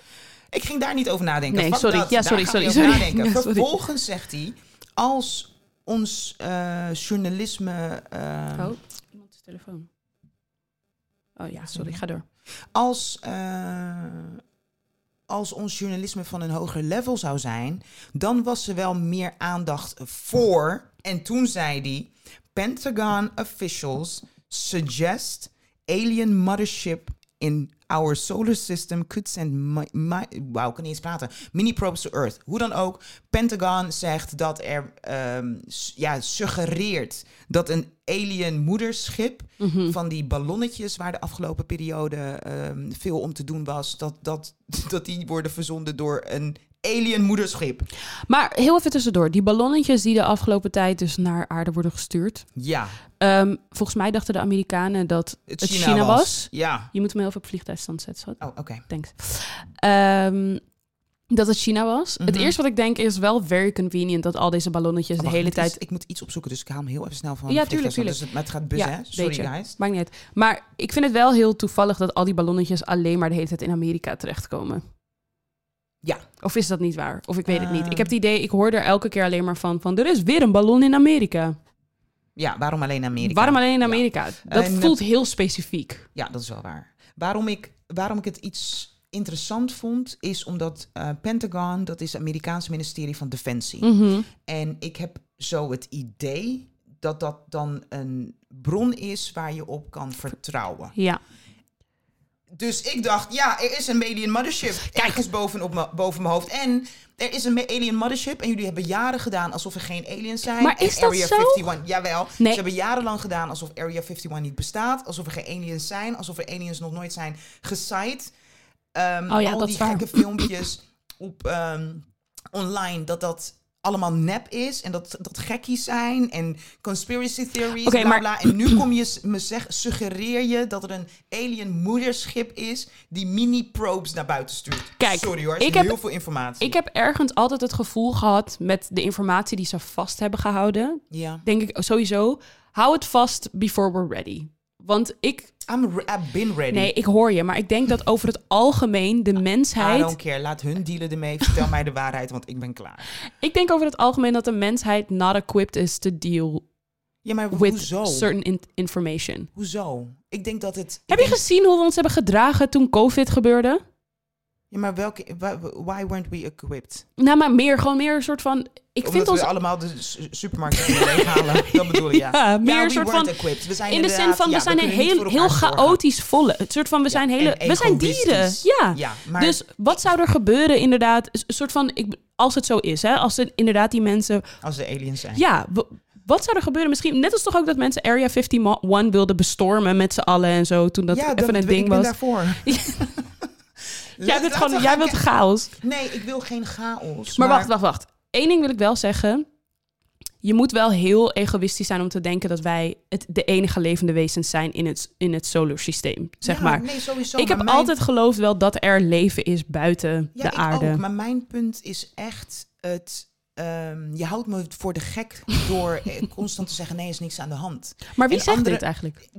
Ik ging daar niet over nadenken. Nee, Fuck sorry. dat. Ja, Daar sorry, gaan we sorry, niet over sorry. nadenken. Ja, sorry. Vervolgens zegt hij, als ons eh, journalisme... eh, Oh, iemand is telefoon. Oh ja, sorry, ga door. als, eh, als ons journalisme van een hoger level zou zijn, dan was er wel meer aandacht voor. En toen zei hij: Pentagon officials suggest alien mothership in our solar system could send mi- mi- wauw, ik kan niet eens praten. Mini probes to Earth. Hoe dan ook, Pentagon zegt dat er ehm, s- ja, suggereert dat een alien moederschip Mhm. Hm. van die ballonnetjes waar de afgelopen periode ehm, veel om te doen was, dat, dat, dat die worden verzonden door een alien moederschip. Maar heel even tussendoor. Die ballonnetjes die de afgelopen tijd dus naar aarde worden gestuurd. Ja, Ehm, volgens mij dachten de Amerikanen dat het, het, China, was. Ja. Je moet me heel even op vliegtuigstand zetten, schat. Oh, oké. Thanks. Ehm, dat het China was. Het Mhm. eerste wat ik denk is wel very convenient dat al deze ballonnetjes Oh, Wacht, de hele ik moet tijd... iets- ik moet iets opzoeken, dus ik haal hem heel even snel van. Ja, de tuurlijk, vliegtuig. Dus het, maar het gaat bus, Ja, hè? Sorry, weet je. guys. Maakt niet uit. Maar ik vind het wel heel toevallig dat al die ballonnetjes alleen maar de hele tijd in Amerika terechtkomen. Ja. Of is dat niet waar? Of ik weet het niet. Ik Ehm. heb het idee, ik hoor er elke keer alleen maar van, van er is weer een ballon in Amerika. Ja, waarom alleen Amerika? Waarom alleen in Ja. Amerika? Dat En, eh, voelt heel specifiek. Ja, dat is wel waar. Waarom ik, waarom ik het iets interessant vond, is omdat eh, Pentagon, dat is het Amerikaanse ministerie van Defensie. En ik heb zo het idee dat dat dan een bron is waar je op kan vertrouwen. Ja. Dus ik dacht, ja, er is een alien mothership ergens boven, op me, boven mijn hoofd. En er is een ma- alien mothership en jullie hebben jaren gedaan alsof er geen aliens zijn. Maar En is dat Area zo? 51, jawel. Nee. Ze hebben jarenlang gedaan alsof Area 51 niet bestaat. Alsof er geen aliens zijn. Alsof er aliens nog nooit zijn gesight. Ehm, Oh ja, al dat die is waar. gekke filmpjes op ehm, online, dat dat allemaal nep is en dat dat gekkies zijn en conspiracy theories Oké, bla, maar- bla. en nu kom je s- me zeg suggereer je dat er een alien moederschip is die mini probes naar buiten stuurt Kijk, sorry hoor is ik heb- heel veel informatie Ik heb ergens altijd het gevoel gehad met de informatie die ze vast hebben gehouden. ja Denk ik oh, sowieso, hou het vast before we're ready. Want ik, I'm re- I've been ready nee, ik hoor je, maar ik denk dat over het algemeen de I mensheid don't care. Laat hun dealen ermee. Vertel mij de waarheid, want ik ben klaar. Ik denk over het algemeen dat de mensheid not equipped is to deal Ja, maar with hoezo? certain in- information. Hoezo? Ik denk dat het... ik Heb je denk- gezien hoe we ons hebben gedragen toen COVID gebeurde? Ja, maar welke, wa- why weren't we equipped? Nou, maar meer, gewoon meer een soort van... Ik Omdat vind ons we allemaal de su- supermarkt kunnen leeghalen. Dat bedoel je, ja. Ja, meer we een soort weren't van- equipped. We zijn in de zin inderdaad- van, we ja, zijn een kunnen niet heel, voor heel elkaar zorgen. chaotisch volle. Het soort van, we zijn hele... en We zijn dieren. egoïstisch. Ja. Ja, maar Dus wat zou er gebeuren inderdaad? Een soort van, ik, als het zo is, hè? als er inderdaad die mensen als de aliens zijn. Ja, w- wat zou er gebeuren? Misschien, net als toch ook dat mensen Area 51 wilden bestormen met z'n allen en zo. Toen dat Ja, even een ik ding ben was. daarvoor. Jij, Laat- bent gewoon, laten jij we gaan wilt chaos. kijken. Nee, ik wil geen chaos. Maar, wacht, wacht, wacht. Eén ding wil ik wel zeggen. Je moet wel heel egoïstisch zijn om te denken dat wij het, de enige levende wezens zijn in het, in het solar systeem. Zeg Ja, maar. Nee, sowieso. ik heb maar mijn- altijd geloofd wel dat er leven is buiten ja, de ik aarde. Ook, maar mijn punt is echt het. ehm, je houdt me voor de gek door eh, constant te zeggen: nee, is niks aan de hand. maar wie en zegt andere- dit eigenlijk?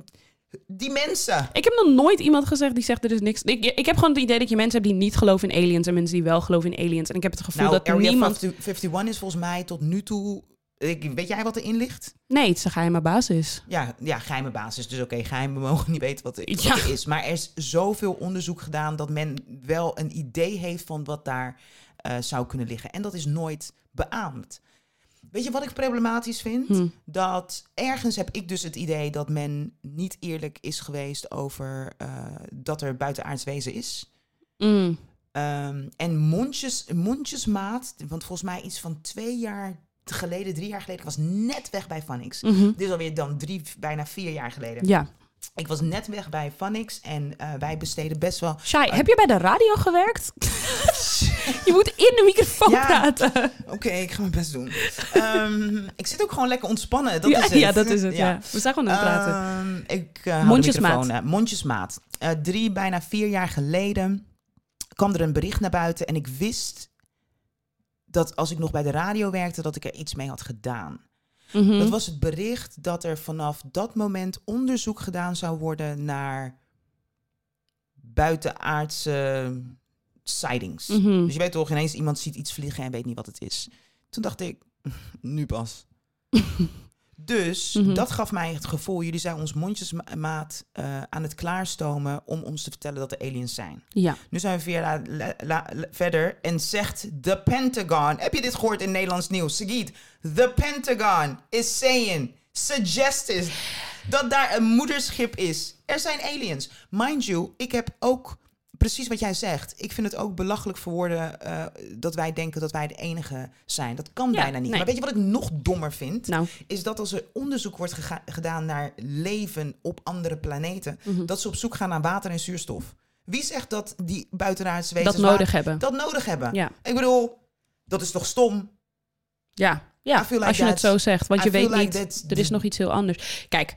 Die mensen. Ik heb nog nooit iemand gezegd die zegt er is niks. Ik, ik heb gewoon het idee dat je mensen hebt die niet geloven in aliens en mensen die wel geloven in aliens. En ik heb het gevoel Nou, dat Area niemand. 50 51 is volgens mij tot nu toe. Ik, weet jij wat erin ligt? Nee, het is een geheime basis. Ja, ja, geheime basis. Dus oké, geheim, we mogen niet weten wat, wat Ja. er is. Maar er is zoveel onderzoek gedaan dat men wel een idee heeft van wat daar eh, zou kunnen liggen. En dat is nooit beaamd. Weet je wat ik problematisch vind? Hm. Dat ergens heb ik dus het idee dat men niet eerlijk is geweest over eh, dat er buitenaards wezen is. Mm. Ehm, en mondjes, mondjesmaat, want volgens mij iets van twee jaar geleden, drie jaar geleden, ik was net weg bij Phonics. Mhm. Dit is alweer dan drie, bijna vier jaar geleden. Ja. Ik was net weg bij Phonics en eh, wij besteden best wel... Shai, heb je bij de radio gewerkt? je moet in de microfoon Ja. praten. Oké, ik ga mijn best doen. Ehm, ik zit ook gewoon lekker ontspannen, dat ja, is het. ja, dat is het. Ja. We zijn gewoon aan het praten. Ehm, ik, eh, hou de Mondjesmaat. microfoon, eh, mondjesmaat. Eh, drie, bijna vier jaar geleden kwam er een bericht naar buiten en ik wist dat als ik nog bij de radio werkte, dat ik er iets mee had gedaan. Mhm. Dat was het bericht dat er vanaf dat moment onderzoek gedaan zou worden naar buitenaardse sightings. Mhm. Dus je weet toch ineens iemand ziet iets vliegen en weet niet wat het is. Toen dacht ik, nu pas. dus Mhm. dat gaf mij het gevoel, jullie zijn ons mondjesmaat eh, aan het klaarstomen om ons te vertellen dat er aliens zijn. Ja. Nu zijn we vier jaar la- la- la- verder en zegt The Pentagon. Heb je dit gehoord in Nederlands nieuws? Sagit, The Pentagon is saying, suggested dat daar een moederschip is. Er zijn aliens. Mind you, ik heb ook precies wat jij zegt. Ik vind het ook belachelijk voor woorden eh, dat wij denken dat wij de enige zijn. Dat kan Ja, bijna niet. nee. Maar weet je wat ik nog dommer vind? Nou. Is dat als er onderzoek wordt gega- gedaan naar leven op andere planeten, Mhm. dat ze op zoek gaan naar water en zuurstof. Wie zegt dat die buitenaardse wezens Dat nodig water- hebben. dat nodig hebben? Ja. Ik bedoel, dat is toch stom? Ja. I ja. feel like Als je het that's- zo zegt. Want I je feel weet like niet. that's- Er is nog iets heel anders. Kijk.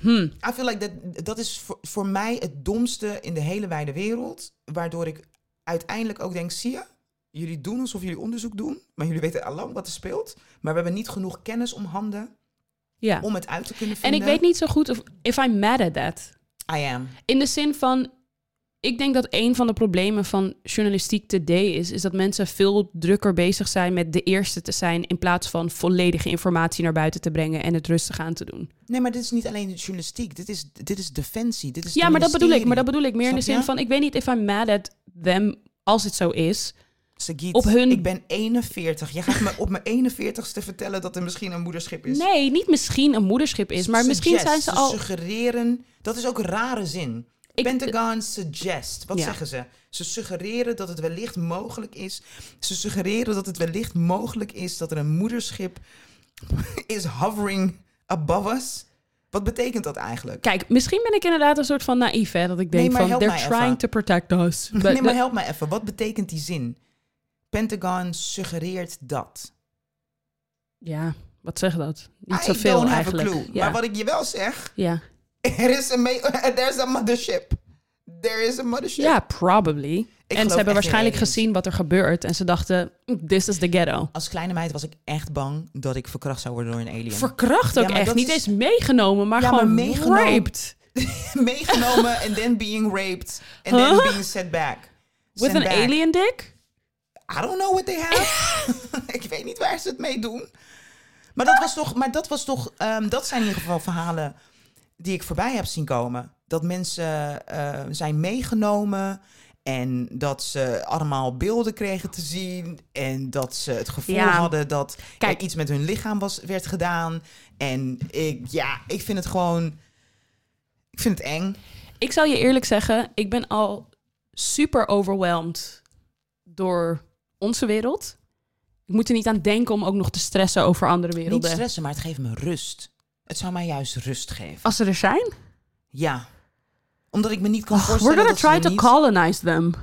hm, I feel like dat, dat is voor, voor mij het domste in de hele wijde wereld. Waardoor ik uiteindelijk ook denk, zie je, jullie doen alsof jullie onderzoek doen. Maar jullie weten allang wat er speelt. Maar we hebben niet genoeg kennis om handen Ja. om het uit te kunnen En vinden. ik weet niet zo goed of if I'm mad at that. I am. In de zin van, ik denk dat een van de problemen van journalistiek today is, is dat mensen veel drukker bezig zijn met de eerste te zijn in plaats van volledige informatie naar buiten te brengen en het rustig aan te doen. Nee, maar dit is niet alleen journalistiek. Dit is, dit is defensie. Dit is Ja, het maar dat bedoel ik. ministerie. Maar dat bedoel ik meer in de Snap zin je? van, ik weet niet if I'm mad at them als het zo is. Sagiet, op hun- ik ben 41. Je gaat me op mijn 41ste vertellen dat er misschien een moederschip is. Nee, niet misschien een moederschip is, maar misschien Suggest, zijn ze al. suggereren, dat is ook een rare zin. Ik- Pentagon suggest. Wat Ja. zeggen ze? Ze suggereren dat het wellicht mogelijk is. Ze suggereren dat het wellicht mogelijk is dat er een moederschip is hovering above us. Wat betekent dat eigenlijk? Kijk, misschien ben ik inderdaad een soort van naïef, hè, dat ik Nee, denk maar van help they're mij trying even. to protect us. But- nee, maar help mij even. Wat betekent die zin? Pentagon suggereert dat. Ja, wat zegt dat? Niet I zoveel don't have eigenlijk. a clue. Ja. Maar wat ik je wel zeg, ja. er is een ma- there's a mothership. There is a mothership. Ja, probably. en geloof ze hebben echt in waarschijnlijk aliens. gezien wat er gebeurt. En ze dachten, "Mm, this is the ghetto. Als kleine meid was ik echt bang dat ik verkracht zou worden door een alien. Verkracht ook Ja, maar echt. dat Niet is- eens meegenomen, maar Ja, maar gewoon meegenomen. raped. Meegenomen en then being raped. En Huh? then being set back. With Sent an back. alien dick? I don't know what they have. ik weet niet waar ze het mee doen. Maar dat was toch, maar dat, was toch ehm, dat zijn in ieder geval verhalen die ik voorbij heb zien komen. Dat mensen eh, zijn meegenomen En dat ze allemaal beelden kregen te zien. En dat ze het gevoel Ja. hadden dat Kijk. er iets met hun lichaam was, werd gedaan. En ik, ja, ik vind het gewoon... Ik vind het eng. Ik zal je eerlijk zeggen, ik ben al super overwhelmed door onze wereld. Ik moet er niet aan denken om ook nog te stressen over andere Niet werelden. stressen, maar het geeft me rust. Het zou mij juist rust geven. Als ze er zijn, Ja. Omdat ik me niet kan we're voorstellen gonna dat ze try er to niet... colonize them.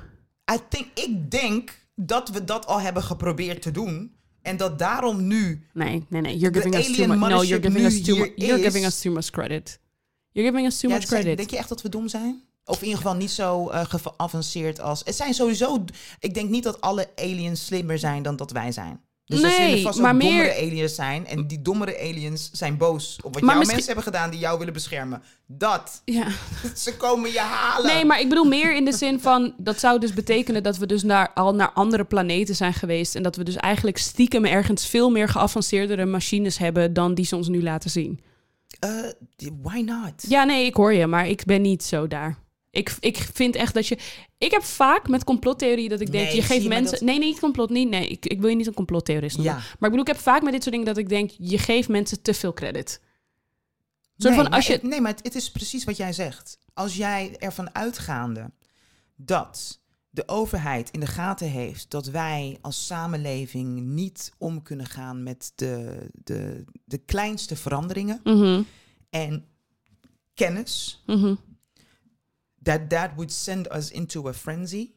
I think, ik denk dat we dat al hebben geprobeerd te doen. En dat daarom nu... Nee, nee, nee. You're De giving us too alien much. No, you're mothership giving nu us too much. hier You're is- giving us too much credit. You're giving us too Ja, much het zijn- credit. Denk je echt dat we dom zijn? Of in ieder geval niet zo eh, ge- geavanceerd als... Het zijn sowieso... Ik denk niet dat alle aliens slimmer zijn dan dat wij zijn. Dus er Nee, zullen vast ook maar meer- dommere aliens zijn. En die dommere aliens zijn boos op wat Maar jouw misschien- mensen hebben gedaan die jou willen beschermen. Dat. Ja. Ze komen je halen. Nee, maar ik bedoel meer in de zin van... dat zou dus betekenen dat we dus naar, al naar andere planeten zijn geweest... en dat we dus eigenlijk stiekem ergens veel meer geavanceerdere machines hebben... dan die ze ons nu laten zien. Eh, die- why not? Ja, nee, ik hoor je, maar ik ben niet zo daar. Ik, ik vind echt dat je... Ik heb vaak met complottheorieën dat ik denk... Nee, je zie geeft je, maar mensen... dat- Nee, nee, niet complot, niet. Nee, ik, ik wil je niet een complottheorist noemen. Ja. Maar ik bedoel, ik heb vaak met dit soort dingen dat ik denk... je geeft mensen te veel credit. Een soort van nee, als maar je... het- nee, maar het, het is precies wat jij zegt. Als jij ervan uitgaande dat de overheid in de gaten heeft dat wij als samenleving niet om kunnen gaan met de, de, de kleinste veranderingen Mhm, en kennis, mhm. that that would send us into a frenzy.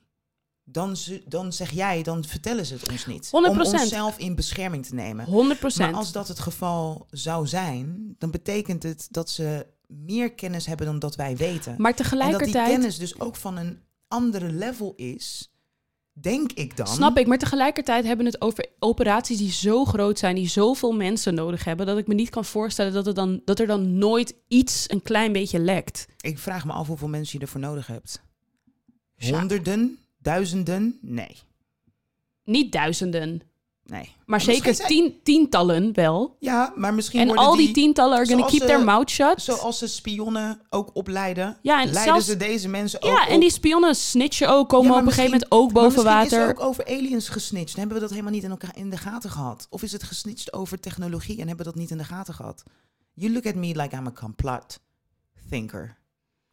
Dan, ze- dan zeg jij, dan vertellen ze het ons niet. Om 100%. onszelf in bescherming te nemen. 100 Maar als dat het geval zou zijn, dan betekent het dat ze meer kennis hebben dan dat wij weten. Maar en dat die tegelijkertijd... kennis dus ook van een andere level is, denk ik dan. Snap ik, maar tegelijkertijd hebben we het over operaties die zo groot zijn, die zoveel mensen nodig hebben, dat ik me niet kan voorstellen dat, het dan, dat er dan nooit iets een klein beetje lekt. Ik vraag me af hoeveel mensen je ervoor nodig hebt. Ja. Honderden? Duizenden? Nee. Niet duizenden, Nee. maar misschien zeker zijn- tien, tientallen wel. Ja, maar misschien En worden al die tientallen are gonna zoals keep their ze- mouth shut. Zoals ze spionnen ook opleiden, Ja, en leiden zelfs- ze deze mensen ook ja, en op. die spionnen snitchen ook, komen Ja, maar op een gegeven moment misschien- ook boven maar misschien water. Is er ook over aliens gesnitcht? Dan hebben we dat helemaal niet in, elkaar in de gaten gehad? Of is het gesnitcht over technologie en hebben we dat niet in de gaten gehad? You look at me like I'm a complot thinker.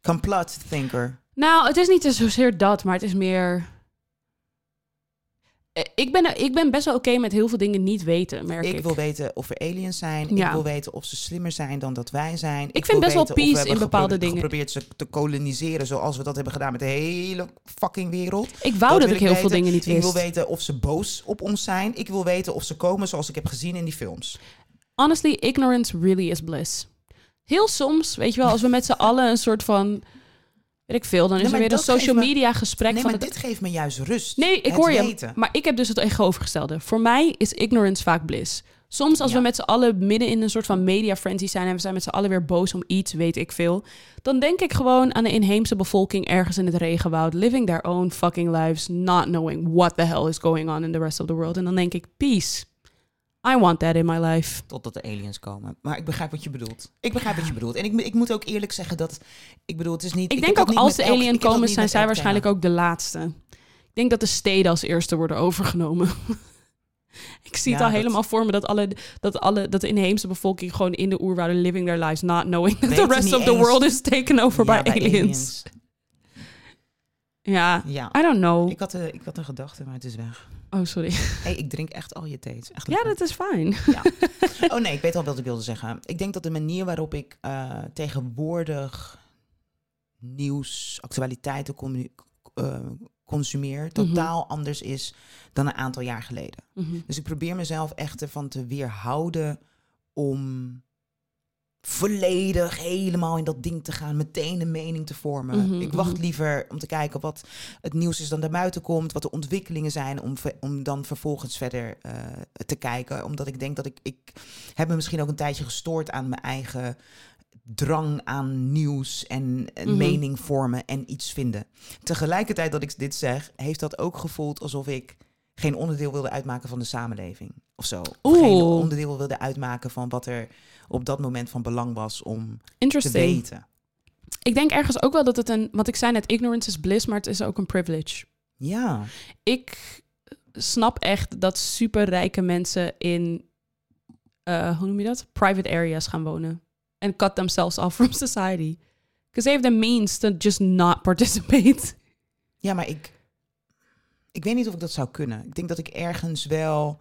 Complot thinker. Nou, het is niet zozeer dat, maar het is meer. Eh, Ik ben, ik ben best wel oké met heel veel dingen niet weten, merk ik. Ik wil weten of er aliens zijn. Ja. Ik wil weten of ze slimmer zijn dan dat wij zijn. Ik, vind wil best wel weten of we peace hebben in bepaalde gepro- dingen. geprobeerd ze te koloniseren zoals we dat hebben gedaan met de hele fucking wereld. Ik wou dat, wil ik heel veel weten. dingen niet wist. Ik wil weten of ze boos op ons zijn. Ik wil weten of ze komen zoals ik heb gezien in die films. honestly, ignorance really is bliss. Heel soms, weet je wel, als we met z'n allen een soort van, weet ik veel, dan is Nee, er maar weer een dat geeft social me- media gesprek Nee, van maar het- dit geeft me juist rust. Nee, ik Het hoor je. weten. Maar ik heb dus het tegenovergestelde. Voor mij is ignorance vaak bliss. Soms als Ja. we met z'n allen midden in een soort van media frenzy zijn en we zijn met z'n allen weer boos om iets, weet ik veel. Dan denk ik gewoon aan de inheemse bevolking ergens in het regenwoud, living their own fucking lives, not knowing what the hell is going on in the rest of the world. En dan denk ik, peace. I want that in my life. Totdat de aliens komen. Maar ik begrijp wat je bedoelt. Ik begrijp wat je bedoelt. En ik, ik moet ook eerlijk zeggen dat... Ik bedoel, het is niet... Ik, heb denk dat ook niet als de met elk- alien ik heb dat komen, niet zijn met zij elk waarschijnlijk thema. ook de laatste. Ik denk dat de steden als eerste worden overgenomen. Ik zie het Ja, al dat- helemaal voor me dat, alle, dat, alle, dat de inheemse bevolking gewoon in de oerwouden living their lives, not knowing that Weten the rest niet of the eens- world is taken over Ja, by bij aliens. Ja, Ja. I don't know. Ik had, eh, ik had een gedachte, maar het is weg. Oh, sorry. hey, ik drink echt al je thee. Het is echt Ja, lekker. dat is fijn. Oh nee, ik weet al wat ik wilde zeggen. Ik denk dat de manier waarop ik eh, tegenwoordig nieuws, actualiteiten commu- eh, consumeer, totaal anders is dan een aantal jaar geleden. Mhm. Dus ik probeer mezelf echt ervan te weerhouden om volledig helemaal in dat ding te gaan, meteen een mening te vormen. Mhm, ik mhm. wacht liever om te kijken wat het nieuws is dan naar buiten komt, wat de ontwikkelingen zijn, om, ve- om dan vervolgens verder eh, te kijken. Omdat ik denk dat ik, ik heb me misschien ook een tijdje gestoord aan mijn eigen drang aan nieuws en eh, Mhm. mening vormen en iets vinden. Tegelijkertijd dat ik dit zeg, heeft dat ook gevoeld alsof ik geen onderdeel wilde uitmaken van de samenleving of zo. Of geen Oeh. onderdeel wilde uitmaken van wat er op dat moment van belang was om te Interesting. weten. Ik denk ergens ook wel dat het een... Want ik zei net, ignorance is bliss, maar het is ook een privilege. Ja. Ik snap echt dat superrijke mensen in... eh, hoe noem je dat? Private areas gaan wonen. En cut themselves off from society. Because they have the means to just not participate. Ja, maar ik... Ik weet niet of ik dat zou kunnen. Ik denk dat ik ergens wel...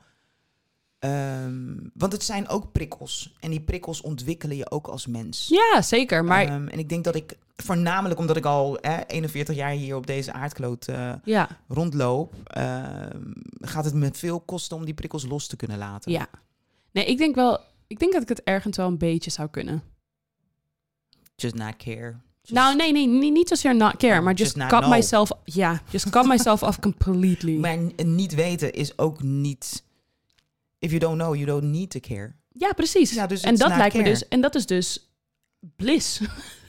ehm, want het zijn ook prikkels. En die prikkels ontwikkelen je ook als mens. Ja, zeker. Maar Ehm, en ik denk dat ik, voornamelijk omdat ik al eh, 41 jaar hier op deze aardkloot eh, ja, rondloop, ehm, gaat het me veel kosten om die prikkels los te kunnen laten. Ja. Nee, ik denk wel. Ik denk dat ik het ergens wel een beetje zou kunnen. Just not care. Just- nou, nee, nee, niet, niet zozeer not care, Oh, maar just, just not cut know. myself. Ja, just cut myself off completely. Maar n- niet weten is ook niet... If you don't know, you don't need to care. ja, precies. Ja, dus en it's dat not lijkt me care. dus. En dat is dus bliss.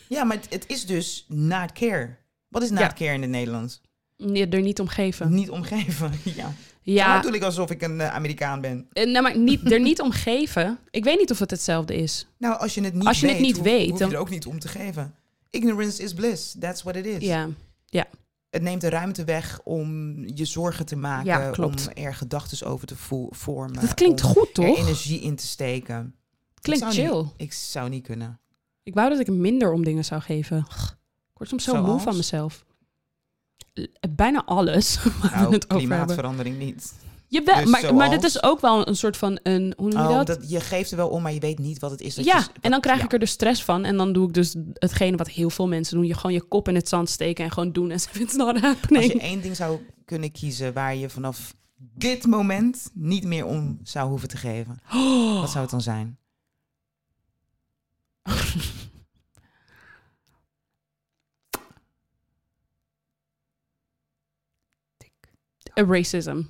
Ja, maar het, het is dus not care. Wat is not Ja. care in het Nederlands? Je er niet omgeven. Niet omgeven. Ja. Ja, Dat bedoel ik alsof ik een eh, Amerikaan ben. eh, nou, maar niet, er niet omgeven. Ik weet niet of het hetzelfde is. Nou, als je het niet Als je weet, het niet hoef, weet, hoef je dan- er ook niet om te geven. Ignorance is bliss. That's what it is. Nou, Ja, het neemt de ruimte weg om je zorgen te maken. Ja, klopt. Om er gedachten over te vo- vormen. dat klinkt om goed er toch? energie in te steken. Klinkt Ik zou chill. niet- ik zou niet kunnen. Ik wou dat ik minder om dingen zou geven. Ik word soms zo moe Zoals? van mezelf. L- Bijna alles waar Nou, we het over hebben. klimaatverandering niet. Jawel, Dus maar, maar dit zoals? is ook wel een soort van een. Hoe noem je Oh, dat? dat, je geeft er wel om, maar je weet niet wat het is. Dat ja, je, en dan krijg ja. ik er dus stress van. En dan doe ik dus hetgene wat heel veel mensen doen. Je gewoon je kop in het zand steken en gewoon doen. En ze vindt het not Als je happening. één ding zou kunnen kiezen waar je vanaf dit moment niet meer om zou hoeven te geven. Oh. Wat zou het dan zijn? Eh, Racism.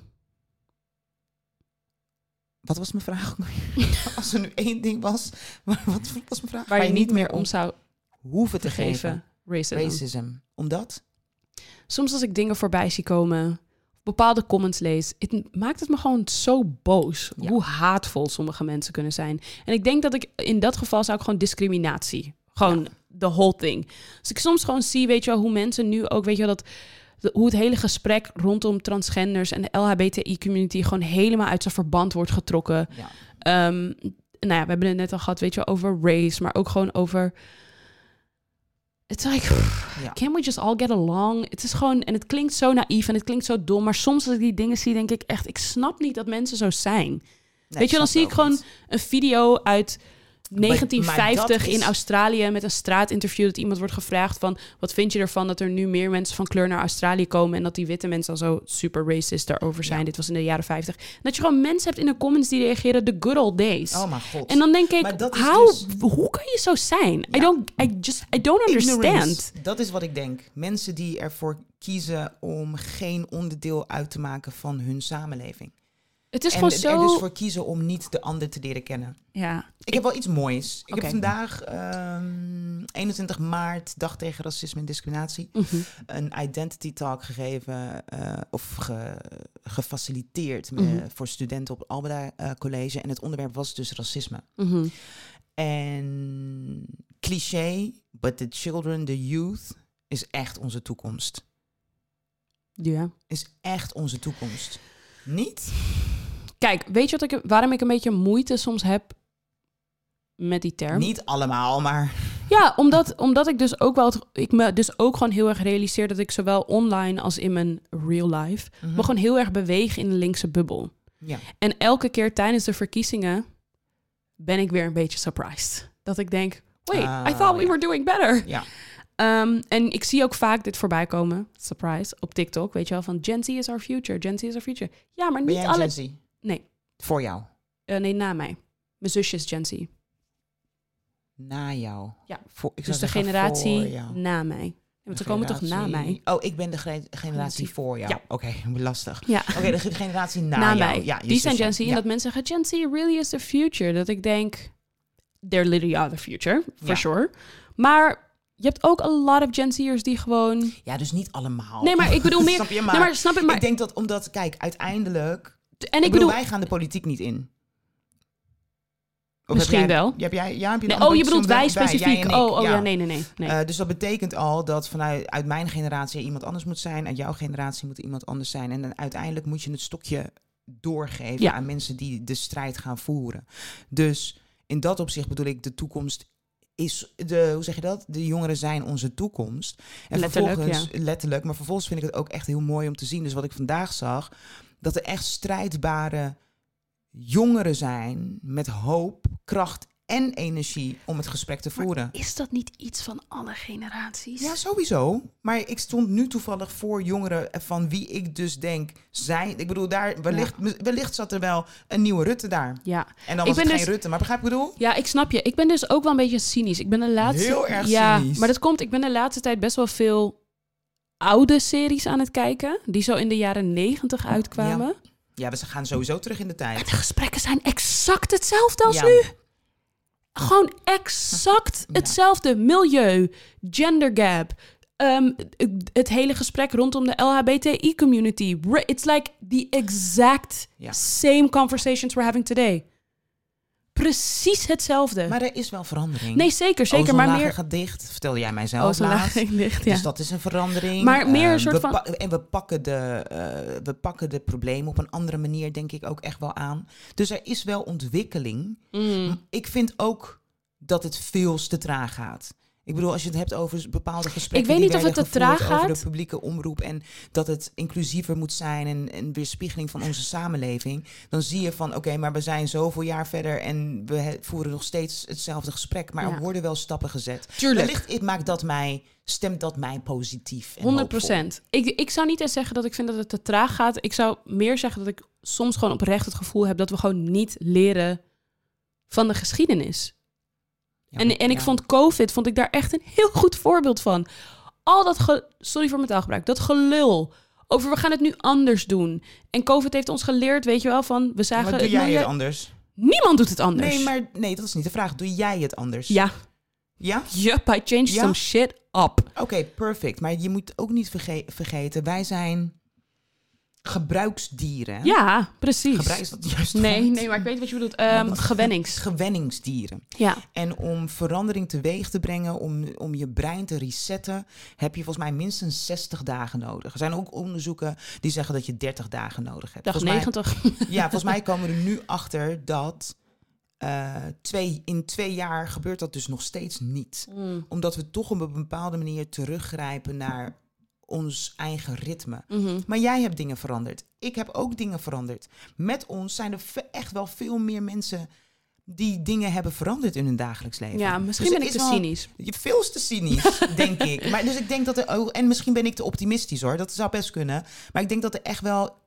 Wat was mijn vraag? ook alweer? Als er nu één ding was, maar wat was mijn vraag? Waar je niet meer om zou hoeven te geven. geven. Racism. Racism. Omdat? Soms als ik dingen voorbij zie komen. Bepaalde comments lees. Het m- maakt het me gewoon zo boos. Ja. Hoe haatvol sommige mensen kunnen zijn. En ik denk dat ik in dat geval zou ik gewoon discriminatie. Gewoon the whole thing. Als ik soms gewoon zie, weet je wel, hoe mensen nu ook, weet je wel, dat de- hoe het hele gesprek rondom transgenders en de LHBTI-community gewoon helemaal uit zijn verband wordt getrokken. Ja. Ehm, nou ja, we hebben het net al gehad, weet je wel, over race, maar ook gewoon over. It's like, pff, Ja. can we just all get along? Het is gewoon, en het klinkt zo naïef en het klinkt zo dom, maar soms als ik die dingen zie, denk ik echt, ik snap niet dat mensen zo zijn. Nee, Weet je, dan snap zie ik ook gewoon niet. een video uit maar 1950 dat is- in Australië met een straatinterview dat iemand wordt gevraagd van wat vind je ervan dat er nu meer mensen van kleur naar Australië komen en dat die witte mensen al zo super racist daarover zijn. Ja. Dit was in de jaren 50. En dat je gewoon mensen hebt in de comments die reageren the good old days. Oh mijn god. en dan denk ik, Maar dat is how, dus- hoe kan je zo zijn? I Ja. don't, I just, I don't understand. Ignorance. Dat is wat ik denk. Mensen die ervoor kiezen om geen onderdeel uit te maken van hun samenleving. Het is en gewoon er zo. dus voor kiezen om niet de ander te leren kennen. Ja, Ik, heb wel iets moois. Ik Oké. heb vandaag, ehm, 21 maart, dag tegen racisme en discriminatie, Mhm. een identity talk gegeven eh, of ge- gefaciliteerd eh, Mhm. voor studenten op het Albeda eh, College. En het onderwerp was dus racisme. Mhm. En cliché, but the children, the youth, is echt onze toekomst. ja. Is echt onze toekomst. Niet? Kijk, weet je wat ik, waarom ik een beetje moeite soms heb met die term? Niet allemaal, Mhm. maar Ja, omdat, omdat ik dus ook wel het- ik me dus ook gewoon heel erg realiseer dat ik zowel online als in mijn real life me gewoon heel erg beweeg in de linkse bubbel. Mhm. Ja. En elke keer tijdens de verkiezingen ben ik weer een beetje surprised. Dat ik denk, wait, I Ah, thought we ja. were doing better. Ja. Ehm, en ik zie ook vaak dit voorbij komen, surprise, op TikTok. Weet je wel, van Gen Z is our future, Gen Z is our future. Ja, maar Ben niet jij alle... Gen Z? Nee. Voor jou. Eh, nee, na mij. Mijn zusje is Gen Z. Na jou. Ja. Voor, ik Dus zou de zeggen voor generatie jou. na mij. Want ze komen toch na Generatie- mij? Oh, ik ben de gre- generatie voor jou. Ja. Oké, lastig. Ja. Oké, de ge- generatie na, na jou. mij. Ja, je die zijn zusje. Gen Z. En Ja. dat mensen zeggen, Gen Z really is the future. Dat ik denk, they're literally are the future, for Ja. sure. Maar je hebt ook a lot of Gen Z'ers die gewoon... Ja, dus niet allemaal. Nee, maar ik bedoel meer... Snap je? nee, Maar maar snap ik, maar... ik denk dat omdat, kijk, uiteindelijk... en ik ik bedoel... bedoel, wij gaan de politiek niet in. heb Misschien jij- wel. Heb jij, ja, heb je Nee, een oh, je antwoord? bedoelt wij Zonder- jij specifiek. en ik, oh, oh ja. nee, nee, nee. nee. Eh, dus dat betekent al dat vanuit uit mijn generatie iemand anders moet zijn, uit jouw generatie moet iemand anders zijn. En dan uiteindelijk moet je het stokje doorgeven Ja. aan mensen die de strijd gaan voeren. Dus in dat opzicht bedoel ik, de toekomst is de, hoe zeg je dat? De jongeren zijn onze toekomst. En Letterlijk, vervolgens, letterlijk, maar vervolgens vind ik het ook echt heel mooi om te zien. Dus wat ik vandaag zag, dat er echt strijdbare jongeren zijn met hoop, kracht en energie om het gesprek te Maar voeren. Is dat niet iets van alle generaties? Ja, sowieso. Maar ik stond nu toevallig voor jongeren van wie ik dus denk zijn. Ik bedoel, daar wellicht, wellicht zat er wel een nieuwe Rutte daar. ja. En Ik dan was het ben geen dus- Rutte. Maar begrijp ik wat ik bedoel? Ja, ik snap je. Ik ben dus ook wel een beetje cynisch. Ik ben de laatste... Heel erg ja, cynisch. maar dat komt... Ik ben de laatste tijd best wel veel oude series aan het kijken. Die zo in de jaren negentig uitkwamen. Ja, we gaan sowieso terug in de En tijd. de gesprekken zijn exact hetzelfde als ja. nu. Gewoon exact Ja. hetzelfde. Milieu, gender gap, ehm, het hele gesprek rondom de LHBTI-community. It's like the exact Ja. same conversations we're having today. Precies hetzelfde. Maar er is wel verandering. nee, zeker, zeker. Maar Ozonlagen meer... gaat dicht, vertelde jij mij zelf laatst. Ozonlaag ligt, ja. Dus dat is een verandering. Maar meer een Ehm, soort we van- pa- en we pakken, de, eh, we pakken de problemen op een andere manier, denk ik, ook echt wel aan. Dus er is wel ontwikkeling. Mm. Ik vind ook dat het veel te traag gaat. Ik bedoel, als je het hebt over bepaalde gesprekken. Ik weet die niet of werden het te traag gevoerd Over gaat. de publieke omroep en dat het inclusiever moet zijn en en weerspiegeling van onze samenleving. Dan zie je van, oké, maar we zijn zoveel jaar verder en we he- voeren nog steeds hetzelfde gesprek. Maar Ja. er worden wel stappen gezet. Tuurlijk. Wellicht het maakt dat mij, stemt dat mij positief. En 100 hoopvol. procent. Ik, ik zou niet eens zeggen dat ik vind dat het te traag gaat. Ik zou meer zeggen dat ik soms gewoon oprecht het gevoel heb dat we gewoon niet leren van de geschiedenis. Ja, En, en ik ja. vond COVID, vond ik daar echt een heel goed voorbeeld van. Al dat, ge- sorry voor mijn taalgebruik, dat gelul over we gaan het nu anders doen. En COVID heeft ons geleerd, weet je wel, van we zagen... Maar doe het jij milieu- het anders? Niemand doet het anders. Nee, maar nee, dat is niet de vraag. Doe jij het anders? Ja, Ja? yup, I changed Ja? some shit up. Oké, perfect. Maar je moet ook niet verge- vergeten, wij zijn gebruiksdieren. hè? Ja, precies. Gebruik is dat juist. Nee, nee, maar ik weet wat je bedoelt. Ehm, gewennings. Gewenningsdieren. Ja. En om verandering teweeg te brengen, om, om je brein te resetten, heb je volgens mij minstens 60 dagen nodig. Er zijn ook onderzoeken die zeggen dat je 30 dagen nodig hebt. Dag Volgens mij- 90. ja, volgens mij komen we er nu achter dat eh, twee, in twee jaar gebeurt dat dus nog steeds niet. Mm. Omdat we toch op een bepaalde manier teruggrijpen naar ons eigen ritme. Mhm. Maar jij hebt dingen veranderd. Ik heb ook dingen veranderd. Met ons zijn er ve- echt wel veel meer mensen die dingen hebben veranderd in hun dagelijks leven. Ja, misschien Dus ben ik er te is wel- cynisch. Je veel te cynisch, denk ik. Maar dus ik denk dat er ook, en misschien ben ik te optimistisch hoor, dat zou best kunnen. Maar ik denk dat er echt wel,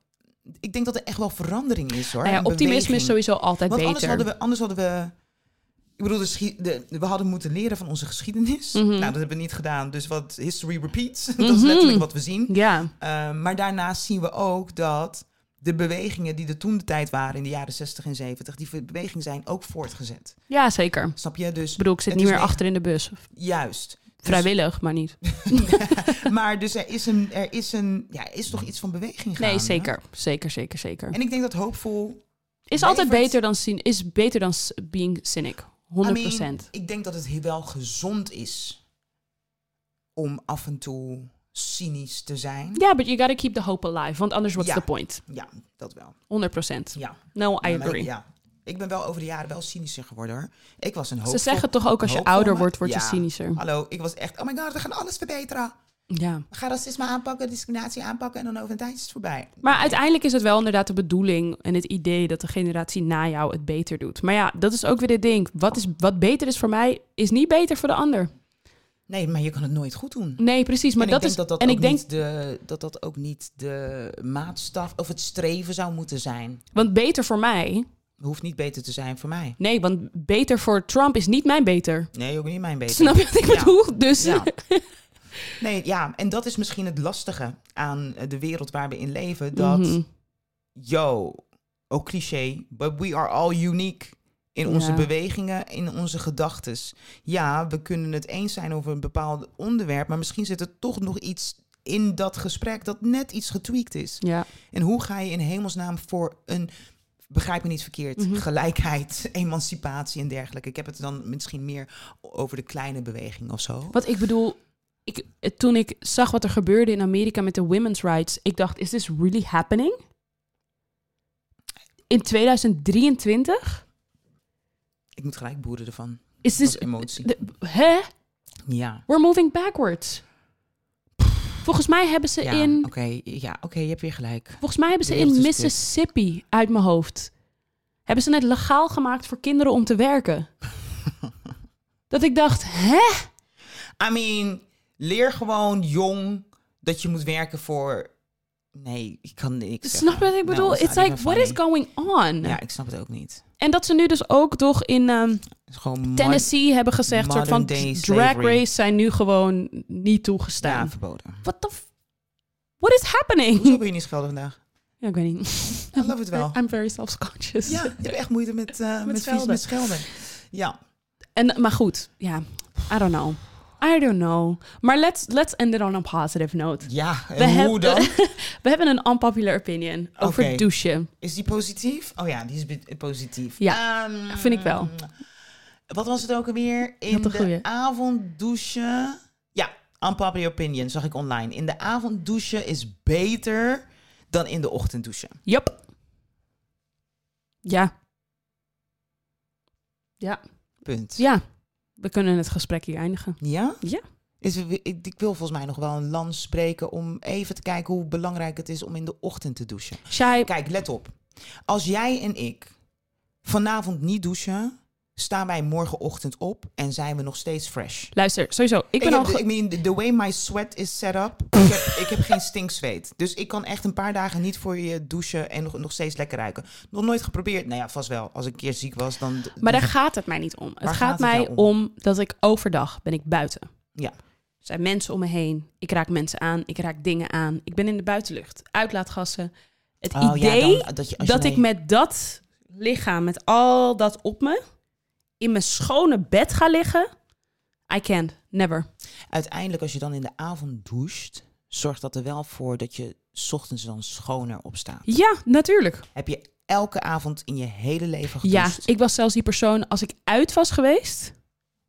ik denk dat er echt wel verandering is hoor. Nou ja, en optimisme is beweging. sowieso altijd Want anders beter. hadden we, anders hadden we. Ik bedoel, de schi- de- we hadden moeten leren van onze geschiedenis. Mhm. Nou, dat hebben we niet gedaan. Dus wat history repeats, dat is Mhm. letterlijk wat we zien. Ja, Uh, maar daarnaast zien we ook dat de bewegingen die er toen de tijd waren in de jaren 60 en 70, die ver- bewegingen zijn ook voortgezet. ja, zeker. Snap je? Dus Ik bedoel, ik zit Het niet is meer echt- achter in de bus. juist. Dus- Vrijwillig, maar niet. maar dus er is, een, er, is een, ja, er is toch iets van beweging gaan. Nee, zeker. Zeker, zeker, zeker. En ik denk dat hoopvol. Is altijd levert- beter dan, zien, is beter dan s- being cynic. 100 I mean, procent. ik denk dat het heel wel gezond is om af en toe cynisch te zijn. Ja, but you gotta keep the hope alive. Want anders what's Ja. the point? Ja, dat wel. 100 procent. Ja. No, I Ja, maar- agree. Ja. Ik ben wel over de jaren wel cynischer geworden hoor. Ik was een hoopvol. Ze zeggen toch ook als je hoopvol, ouder maar- wordt, word je Ja. cynischer. Hallo, ik was echt, oh my god, we gaan alles verbeteren. Ja. We gaan racisme aanpakken, discriminatie aanpakken en dan over een tijdje is het voorbij. Maar uiteindelijk is het wel inderdaad de bedoeling en het idee dat de generatie na jou het beter doet. Maar ja, dat is ook weer dit ding. Wat, is, wat beter is voor mij, is niet beter voor de ander. Nee, maar je kan het nooit goed doen. Nee, precies. Maar en dat ik denk is. dat dat, en ook ik denk, niet de, dat dat ook niet de maatstaf of het streven zou moeten zijn. want beter voor mij Hoeft niet beter te zijn voor mij. Nee, want beter voor Trump is niet mijn beter. Nee, ook niet mijn beter. Snap je wat ik Ja. bedoel? Dus Ja. Nee, ja, en dat is misschien het lastige aan eh, de wereld waar we in leven. Dat, Mhm. yo, ook cliché, but we are all unique. In onze Ja. bewegingen, in onze gedachtes. Ja, we kunnen het eens zijn over een bepaald onderwerp, maar misschien zit er toch nog iets in dat gesprek dat net iets getweakt is. ja. En hoe ga je in hemelsnaam voor een begrijp me niet verkeerd, Mhm. gelijkheid, emancipatie en dergelijke. Ik heb het dan misschien meer over de kleine beweging of zo. Wat ik bedoel, ik, eh, toen ik zag wat er gebeurde in Amerika met de women's rights, ik dacht, is this really happening? In 2023? Ik moet gelijk boeren ervan. Is Dat is this... emotie. de- hè? Ja. We're moving backwards. Volgens mij hebben ze Ja, in... oké, ja, oké, je hebt weer gelijk. Volgens mij hebben ze De wereld in is kut. Mississippi, uit mijn hoofd, hebben ze het legaal gemaakt voor kinderen om te werken. dat ik dacht, hè? I mean, leer gewoon jong dat je moet werken voor. Nee, ik kan niks. Snap je wat ik bedoel? It's like, what is going going on? Ja, ik snap het ook niet. En dat ze nu dus ook toch in ehm, Het is gewoon Tennessee hebben gezegd, soort van modern day drag slavery. races zijn nu gewoon niet staan toegestaan. verboden. What the f- What is happening? Hoezo ben je niet schelden vandaag? Ja, ik weet niet. I love it wel. I'm very self-conscious. Ja, ik heb echt moeite met, eh met, vies- schelden. met schelden. Ja, En, maar goed, ja. I don't know. I don't know. Maar let's, let's end it on a positive note. ja. En We hoe hebben- dan? We hebben een unpopular opinion over Oké. douchen. Is die positief? Oh ja, die is be- positief. Ja, Ehm, vind ik wel. Wat was het ook alweer? In had een de goeie. avonddouche... Ja, unpopular opinion zag ik online. In de avonddouche is beter dan in de ochtenddouche. Yup. Ja. Ja. Punt. Ja. We kunnen het gesprek hier eindigen. Ja? Ja. Is, ik, ik wil volgens mij nog wel een lans spreken om even te kijken hoe belangrijk het is om in de ochtend te douchen. Shai, Kijk, let op. Als jij en ik vanavond niet douchen, staan wij morgenochtend op en zijn we nog steeds fresh. luister, sowieso. Ik Ik, ben heb al... de- ge- I mean, the- the way my sweat is set up, ik heb, ik heb geen stinkzweet. Dus ik kan echt een paar dagen niet voor je douchen en nog, nog steeds lekker ruiken. Nog nooit geprobeerd. Nou ja, vast wel. Als ik een keer ziek was, dan... Maar daar gaat het mij niet om. Het Waar gaat, gaat het mij nou om? om? dat ik overdag ben ik buiten. Ja. Er zijn mensen om me heen. Ik raak mensen aan. Ik raak dingen aan. Ik ben in de buitenlucht. Uitlaatgassen. Het Oh, ja, idee dan- dat, je, als je dat dan- ik met dat lichaam, met al dat op me, in mijn schone bed ga liggen. I can't. Never. Uiteindelijk, als je dan in de avond doucht, zorgt dat er wel voor dat je 's ochtends dan schoner opstaat. Ja, natuurlijk. Heb je elke avond in je hele leven Ja, gedoucht? ik was zelfs die persoon, als ik uit was geweest,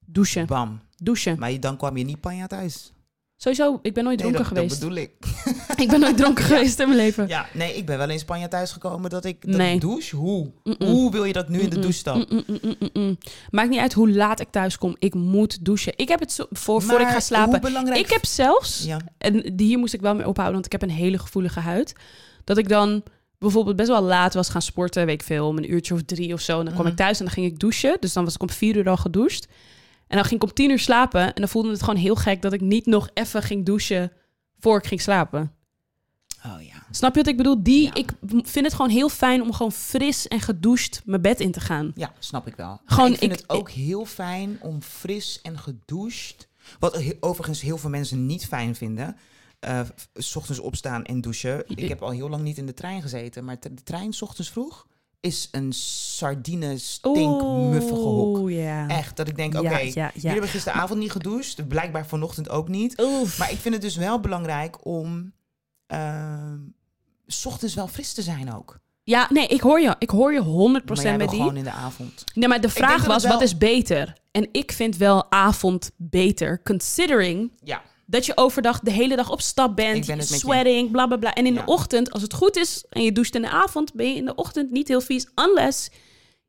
douchen. Bam. Douchen. Maar je- dan kwam je niet panja thuis. Sowieso, ik ben nooit Nee, dronken dat, dat geweest. bedoel ik. ik ben nooit dronken geweest in mijn leven. Ja, nee, ik ben wel in Spanje thuisgekomen dat ik dat Nee. douche. Hoe? Mm-mm. Hoe wil je dat nu in de douche dan? Mm, mm, mm, mm, mm. Maakt niet uit hoe laat ik thuis kom. Ik moet douchen. Ik heb het zo, voor, voor ik Maar ga Hoe slapen. belangrijk? Ik heb zelfs, Ja. en die hier moest ik wel mee ophouden, want ik heb een hele gevoelige huid. Dat ik dan bijvoorbeeld best wel laat was gaan sporten, weet ik veel, om een uurtje of drie of zo. En dan kwam Mhm. ik thuis en dan ging ik douchen. Dus dan was ik om vier uur al gedoucht. En dan ging ik om tien uur slapen. En dan voelde het gewoon heel gek dat ik niet nog even ging douchen voor ik ging slapen. Oh ja. Snap je wat ik bedoel? Die, Ja. Ik vind het gewoon heel fijn om gewoon fris en gedoucht mijn bed in te gaan. Ja, snap ik wel. Gewoon, Maar ik vind ik- het ook heel fijn om fris en gedoucht. Wat he- overigens heel veel mensen niet fijn vinden. eh, f- s ochtends opstaan en douchen. Ik heb al heel lang niet in de trein gezeten. Maar t- de trein s ochtends vroeg is een sardine stink muffige hok. Oeh, ja. Echt, dat ik denk, Ja, oké, ja, ja. jullie hebben gisteravond niet gedoucht. Blijkbaar vanochtend ook niet. Oef. Maar ik vind het dus wel belangrijk om... ehm, s ochtends wel fris te zijn ook. Ja, nee, ik hoor je. Ik hoor je 100% Maar jij wil met die. gewoon in de avond. Nee, maar de denk vraag dat het was, wel- wat is beter? En ik vind wel avond beter, considering Ja, dat je overdag de hele dag op stap Ik bent, ben het met je. sweating, bla bla bla. En in Ja. de ochtend, als het goed is en je doucht in de avond, ben je in de ochtend niet heel vies, unless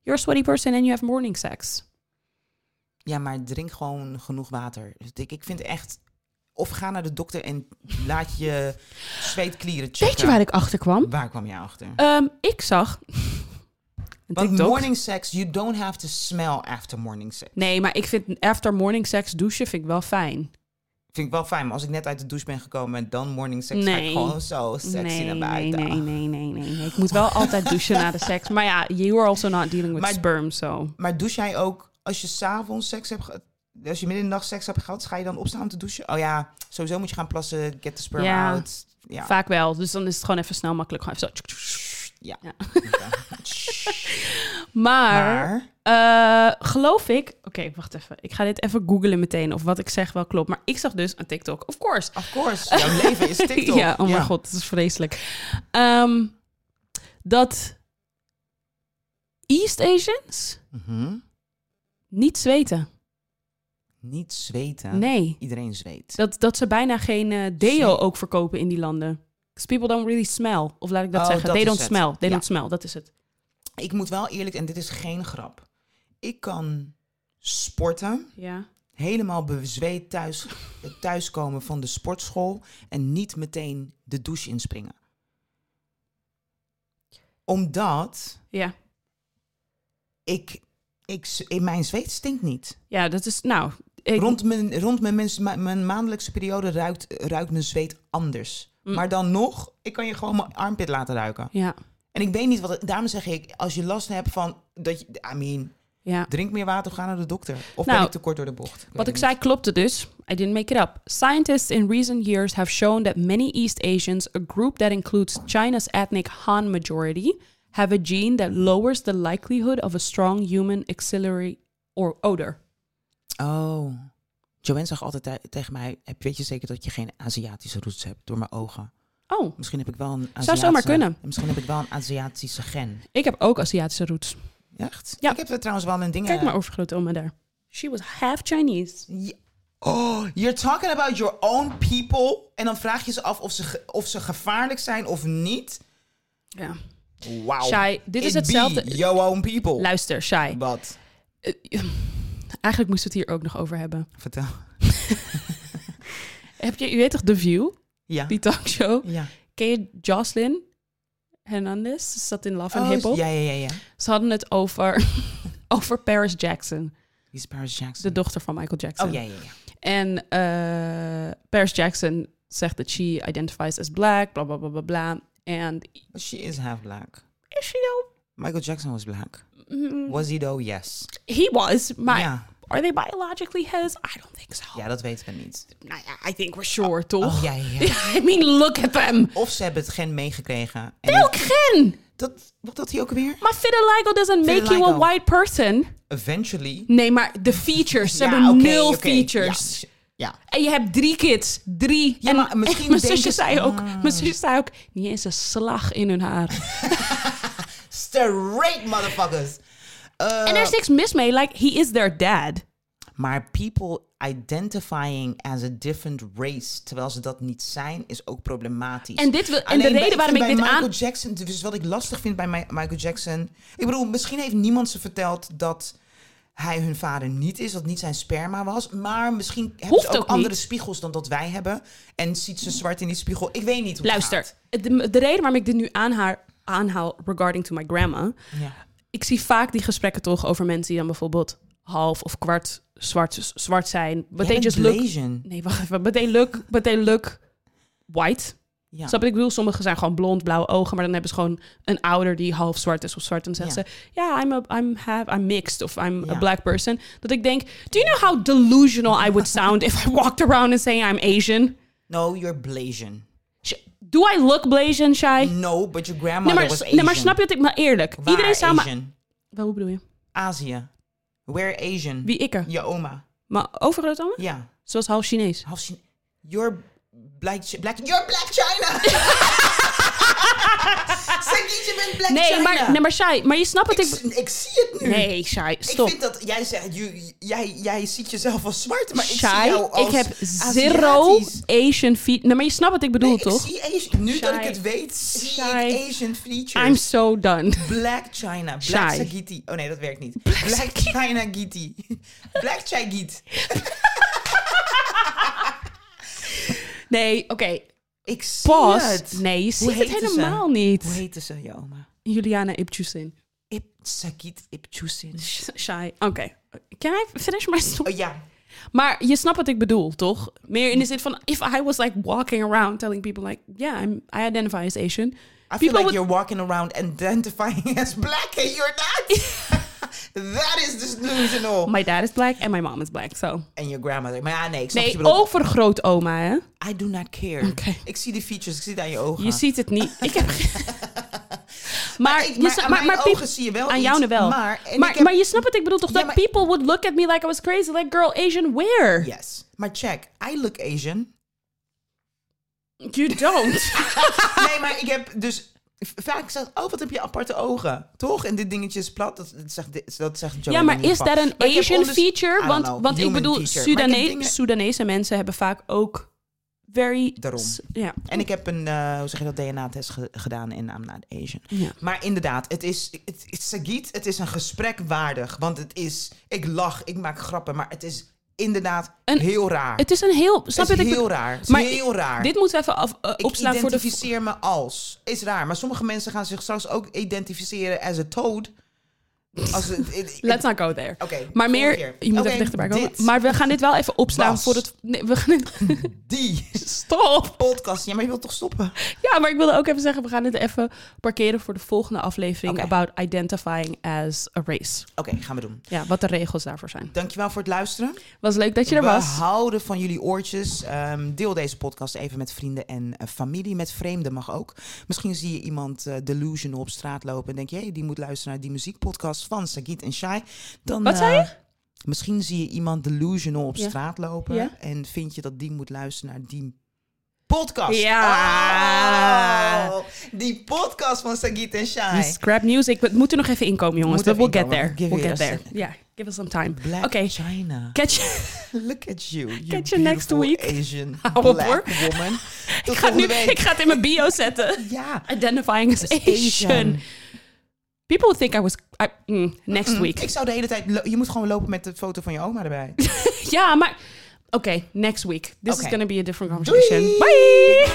you're a sweaty person and you have morning sex. Ja, maar drink gewoon genoeg water. Dus ik, ik vind echt. Of ga naar de dokter en laat je zweetklieren checken. Weet je waar ik achter kwam? Waar kwam je achter? Ehm, ik zag een Want TikTok. morning sex, you don't have to smell after morning sex. Nee, maar ik vind after morning sex douchen vind ik wel fijn. Vind ik wel fijn, maar als ik net uit de douche ben gekomen en dan morning sex, ga ik Nee. gewoon zo sexy naar buiten. Nee, nee, nee, nee, nee. Ik moet wel altijd douchen na de seks. Maar ja, you are also not dealing with Maar- sperm, so... Maar douche jij ook als je s'avonds seks hebt ge- Als je midden in de nacht seks hebt gehad, ga je dan opstaan om te douchen? Oh ja, sowieso moet je gaan plassen, get the sperm Ja. out. Ja. Vaak wel. Dus dan is het gewoon even snel makkelijk. Gewoon even zo. tjoek, tjoek. Ja. Ja. maar, Maar, eh, geloof ik... Oké, wacht even. Ik ga dit even googlen meteen of wat ik zeg wel klopt. Maar ik zag dus een TikTok. Of course. of course, jouw leven is TikTok. ja, oh mijn Ja. god. Het is vreselijk. Ehm, dat East Asians Mhm. niet zweten. Niet zweten. Nee. Iedereen zweet. Dat, dat ze bijna geen eh, deo Zeker. ook verkopen in die landen. 'Cause people don't really smell. Of laat ik dat Oh, zeggen. dat They is don't het. smell. They Ja. don't smell. Dat is het. Ik moet wel eerlijk, en dit is geen grap. Ik kan sporten, Ja. helemaal bezweet thuis, thuiskomen van de sportschool en niet meteen de douche inspringen. Omdat Ja. ik, ik, z- in mijn zweet stinkt niet. Ja, dat is... Nou... Ik, Rond, mijn, rond mijn, mens- ma- mijn maandelijkse periode ruikt, ruikt mijn zweet anders. Mm. Maar dan nog, ik kan je gewoon mijn armpit laten ruiken. Ja. En ik weet niet wat. het- Daarom zeg ik, als je last hebt van dat je, I mean, Ja. Drink meer water of ga naar de dokter. Of Nou, ben ik te kort door de bocht? weet Wat ik het zei klopte dus. I didn't make it up. Scientists in recent years have shown that many East Asians, a group that includes China's ethnic Han majority, have a gene that lowers the likelihood of a strong human axillary or odor. niet. Oh. Joanne zag altijd te- tegen mij, "Heb- weet je zeker dat je geen Aziatische roots hebt door mijn ogen? Oh, Misschien heb ik wel een Aziatische... Zou zomaar kunnen. Misschien heb ik wel een Aziatische gen. ik heb ook Aziatische roots. Echt? Ja. Ik heb er trouwens wel een ding... Kijk eh, maar overgroot oma daar. She was half Chinese. Ja. Oh, you're talking about your own people. En dan vraag je ze af of ze, ge- of ze gevaarlijk zijn of niet. Ja. Wauw. Shai, dit is It be hetzelfde- your own people. Luister, Shai. Eh, Wat? Eigenlijk moesten we het hier ook nog over hebben. Vertel. Heb je, je weet toch The View? Ja. Die talkshow. Ja. Ken je Jocelyn Hernandez? Ze zat in Love and Oh, Hip Hop. Ja, ja, ja, ja. Ze hadden het over, over Paris Jackson, Die is Paris de Jackson. dochter van Michael Jackson. oh, ja, ja, ja. En eh, Paris Jackson zegt dat she identifies as black, bla bla bla bla bla. And She is half black. is she though? Michael Jackson was black. Mm, Was hij though? Yes. he was, maar ja. are they biologically his? I don't think so. ja, dat weten we niet. Nou ja, I think we're sure, toch? ja, ja, ja. I mean, look at them. Of ze hebben het gen meegekregen. En Welk gen? dat, wat had hij ook weer? Maar vitiligo doesn't make you a Vitiligo. white person. Eventually. Nee, maar de features. Ze Ja, hebben oké, nul oké, features. Ja. ja. En je hebt drie kids. Drie. Ja, en maar misschien Ah. mijn denken zusje ze- zei ook, mijn zusje zei ook, niet eens een slag in hun haar. Straight motherfuckers. Eh, en er is niks mis mee. Like, he is their dad. maar people identifying as a different race, terwijl ze dat niet zijn, is ook problematisch. En dit wil- en de Alleen bij- reden waarom vind ik bij dit aan- Michael Jackson, dus wat ik lastig vind bij Mi- Michael Jackson. Ik bedoel, misschien heeft niemand ze verteld dat hij hun vader niet is, dat niet zijn sperma was. Maar misschien hebben Hoeft ze ook, ook niet. andere spiegels dan dat wij hebben. En ziet ze zwart in die spiegel. Ik weet niet hoe het Luister, gaat. de, de reden waarom ik dit nu aan haar aanhaal regarding to my grandma. Ja. Ik zie vaak die gesprekken toch over mensen die dan bijvoorbeeld half of kwart zwart, zwart zijn. But they Jij just bent look... Blasian. Nee, wacht even. But they look, but they look white. Ja. Snap je wat ik bedoel? Sommigen zijn gewoon blond, blauwe ogen, maar dan hebben ze gewoon een ouder die half zwart is of zwart. En dan zeggen ze, ja, I'm, a, I'm, half, I'm mixed of I'm a Ja. black person. Dat ik denk, do you know how delusional I would sound if I walked around and saying I'm Asian? No, you're Blasian. Sh- Do I look Blasian, Shai? No, but your grandmother nee, maar, Mm, was Asian. nee, maar snap je dat ik, maar eerlijk. Waar iedereen zou maar... Asian? Wel, hoe bedoel je? Azië. Where Asian? Wie ik er? Je oma. Maar overgrootoma? Ja. Zoals half Chinees. Half Chin- You're black, Chi- black. You're black China. zeg niet, je bent black Nee, China. maar, nee, maar Shai, maar je snapt wat ik, ik... s- ik zie het nu. Nee, Shai, Ik stop. vind dat jij zegt, you- jij, jij ziet jezelf als zwart, maar ik Shai, zie jou als ik heb zero Aziatisch. Asian feet. Nee, maar je snapt wat ik bedoel, Nee, ik toch? zie Asian- nu dat Shai. ik het weet, zie Shai. ik Asian features. I'm so done. Black China, Black Shai. Sagiti. Oh nee, dat werkt niet. Black, China Giti. Black Chai Giet. Nee, oké. Ik zie Pas. het. Nee, je ziet het heette ze? helemaal Hoe niet. heette ze, je oma? Juliana Ipchusin. Ip, Sagit Ipchusin. Sh- Shy. Oké. Can I finish my story? Oh ja. Maar je snapt wat ik bedoel, toch? Meer in de zin van... If I was like walking around telling people like... Yeah, I'm, I identify as Asian. I feel People like would- you're walking around identifying as black and you're not. That is delusional. My dad is black and my mom is black, so... En your grandmother. Maar ja, nee, ik snap wat je Nee, bedoelt. overgrootoma, hè? I do not care. Oké. Ik zie die features, ik zie het aan je ogen. Je ziet het niet. Ik heb... geen- Maar, je ik, Ah. maar, sna- aan maar, mijn maar ogen peop- zie je wel aan Oh, iets, jou wel. Maar, en maar, ik heb- maar je snapt wat ik bedoel, toch? Ja, dat maar- people would look at me like I was crazy. Like, girl, Asian, where? Yes. Maar check, I look Asian. You don't. nee, maar ik heb dus... V- Vaak zegt, oh, wat heb je aparte ogen, toch? En dit dingetje is plat, dat, dat zegt, dat zegt Joey ja, maar in ieder is geval. daar een Maar ik heb Asian onders- I feature? don't Want, know, want ik human bedoel, feature. Maar ik heb Sudane- dingen- Soedanese mensen hebben vaak ook very... Daarom. s- Ja. En ik heb een, eh, hoe zeg je dat, DNA-test ge- gedaan en I'm not Asian. ja. Maar inderdaad, het is, het, het, Sagiet, het is een gesprek waardig. Want het is, ik lach, ik maak grappen, maar het is inderdaad Een- heel raar. Het is een heel... Snap je het wat is ik heel bedoel? raar. Het is Maar heel raar. Dit moeten we even af, eh, ik opslaan voor de... identificeer me als. Is raar. Maar sommige mensen gaan zich straks ook identificeren as a toad. Als het, it- it- Let's not go there. Oké. Maar meer, volgende keer. je moet Oké, even dichterbij komen. dit, Maar we gaan dit wel even opslaan Was. voor het. Nee, we gaan dit, die stop! podcast. Ja, maar je wilt toch stoppen? Ja, maar ik wilde ook even zeggen, we gaan dit even parkeren voor de volgende aflevering Oké. about identifying as a race. Oké, gaan we doen. Ja, wat de regels daarvoor zijn. Dankjewel voor het luisteren. Was leuk dat je er we was. houden van jullie oortjes. Ehm, deel deze podcast even met vrienden en eh, familie. Met vreemden mag ook. Misschien zie je iemand eh, delusional op straat lopen en denk je, hey, die moet luisteren naar die muziekpodcast van Sagit en Shai. Dan, Wat zei eh, Misschien zie je iemand delusional op Ja. straat lopen Ja. en vind je dat die moet luisteren naar die podcast. Ja. Oh, die podcast van Sagit en Shai. Die Scrap music. Het moet er nog even inkomen, jongens. Moet But even we'll get inkomen. there. Give we'll it get a there. Ja, second. give us some time. Black Oké. China. Catch you. Look at you. you Catch you next beautiful week. Asian Hou op, black hoor. woman. Tot ik, ga het nu, volgende week. ik ga het in mijn bio zetten. Ja. Identifying as As Asian. Asian. People would think I was... I- mm, next Mm, week. Ik zou de hele tijd... lo- Je moet gewoon lopen met de foto van je oma erbij. Ja, maar... Oké, next week. This Oké. is gonna be a different conversation. Bye!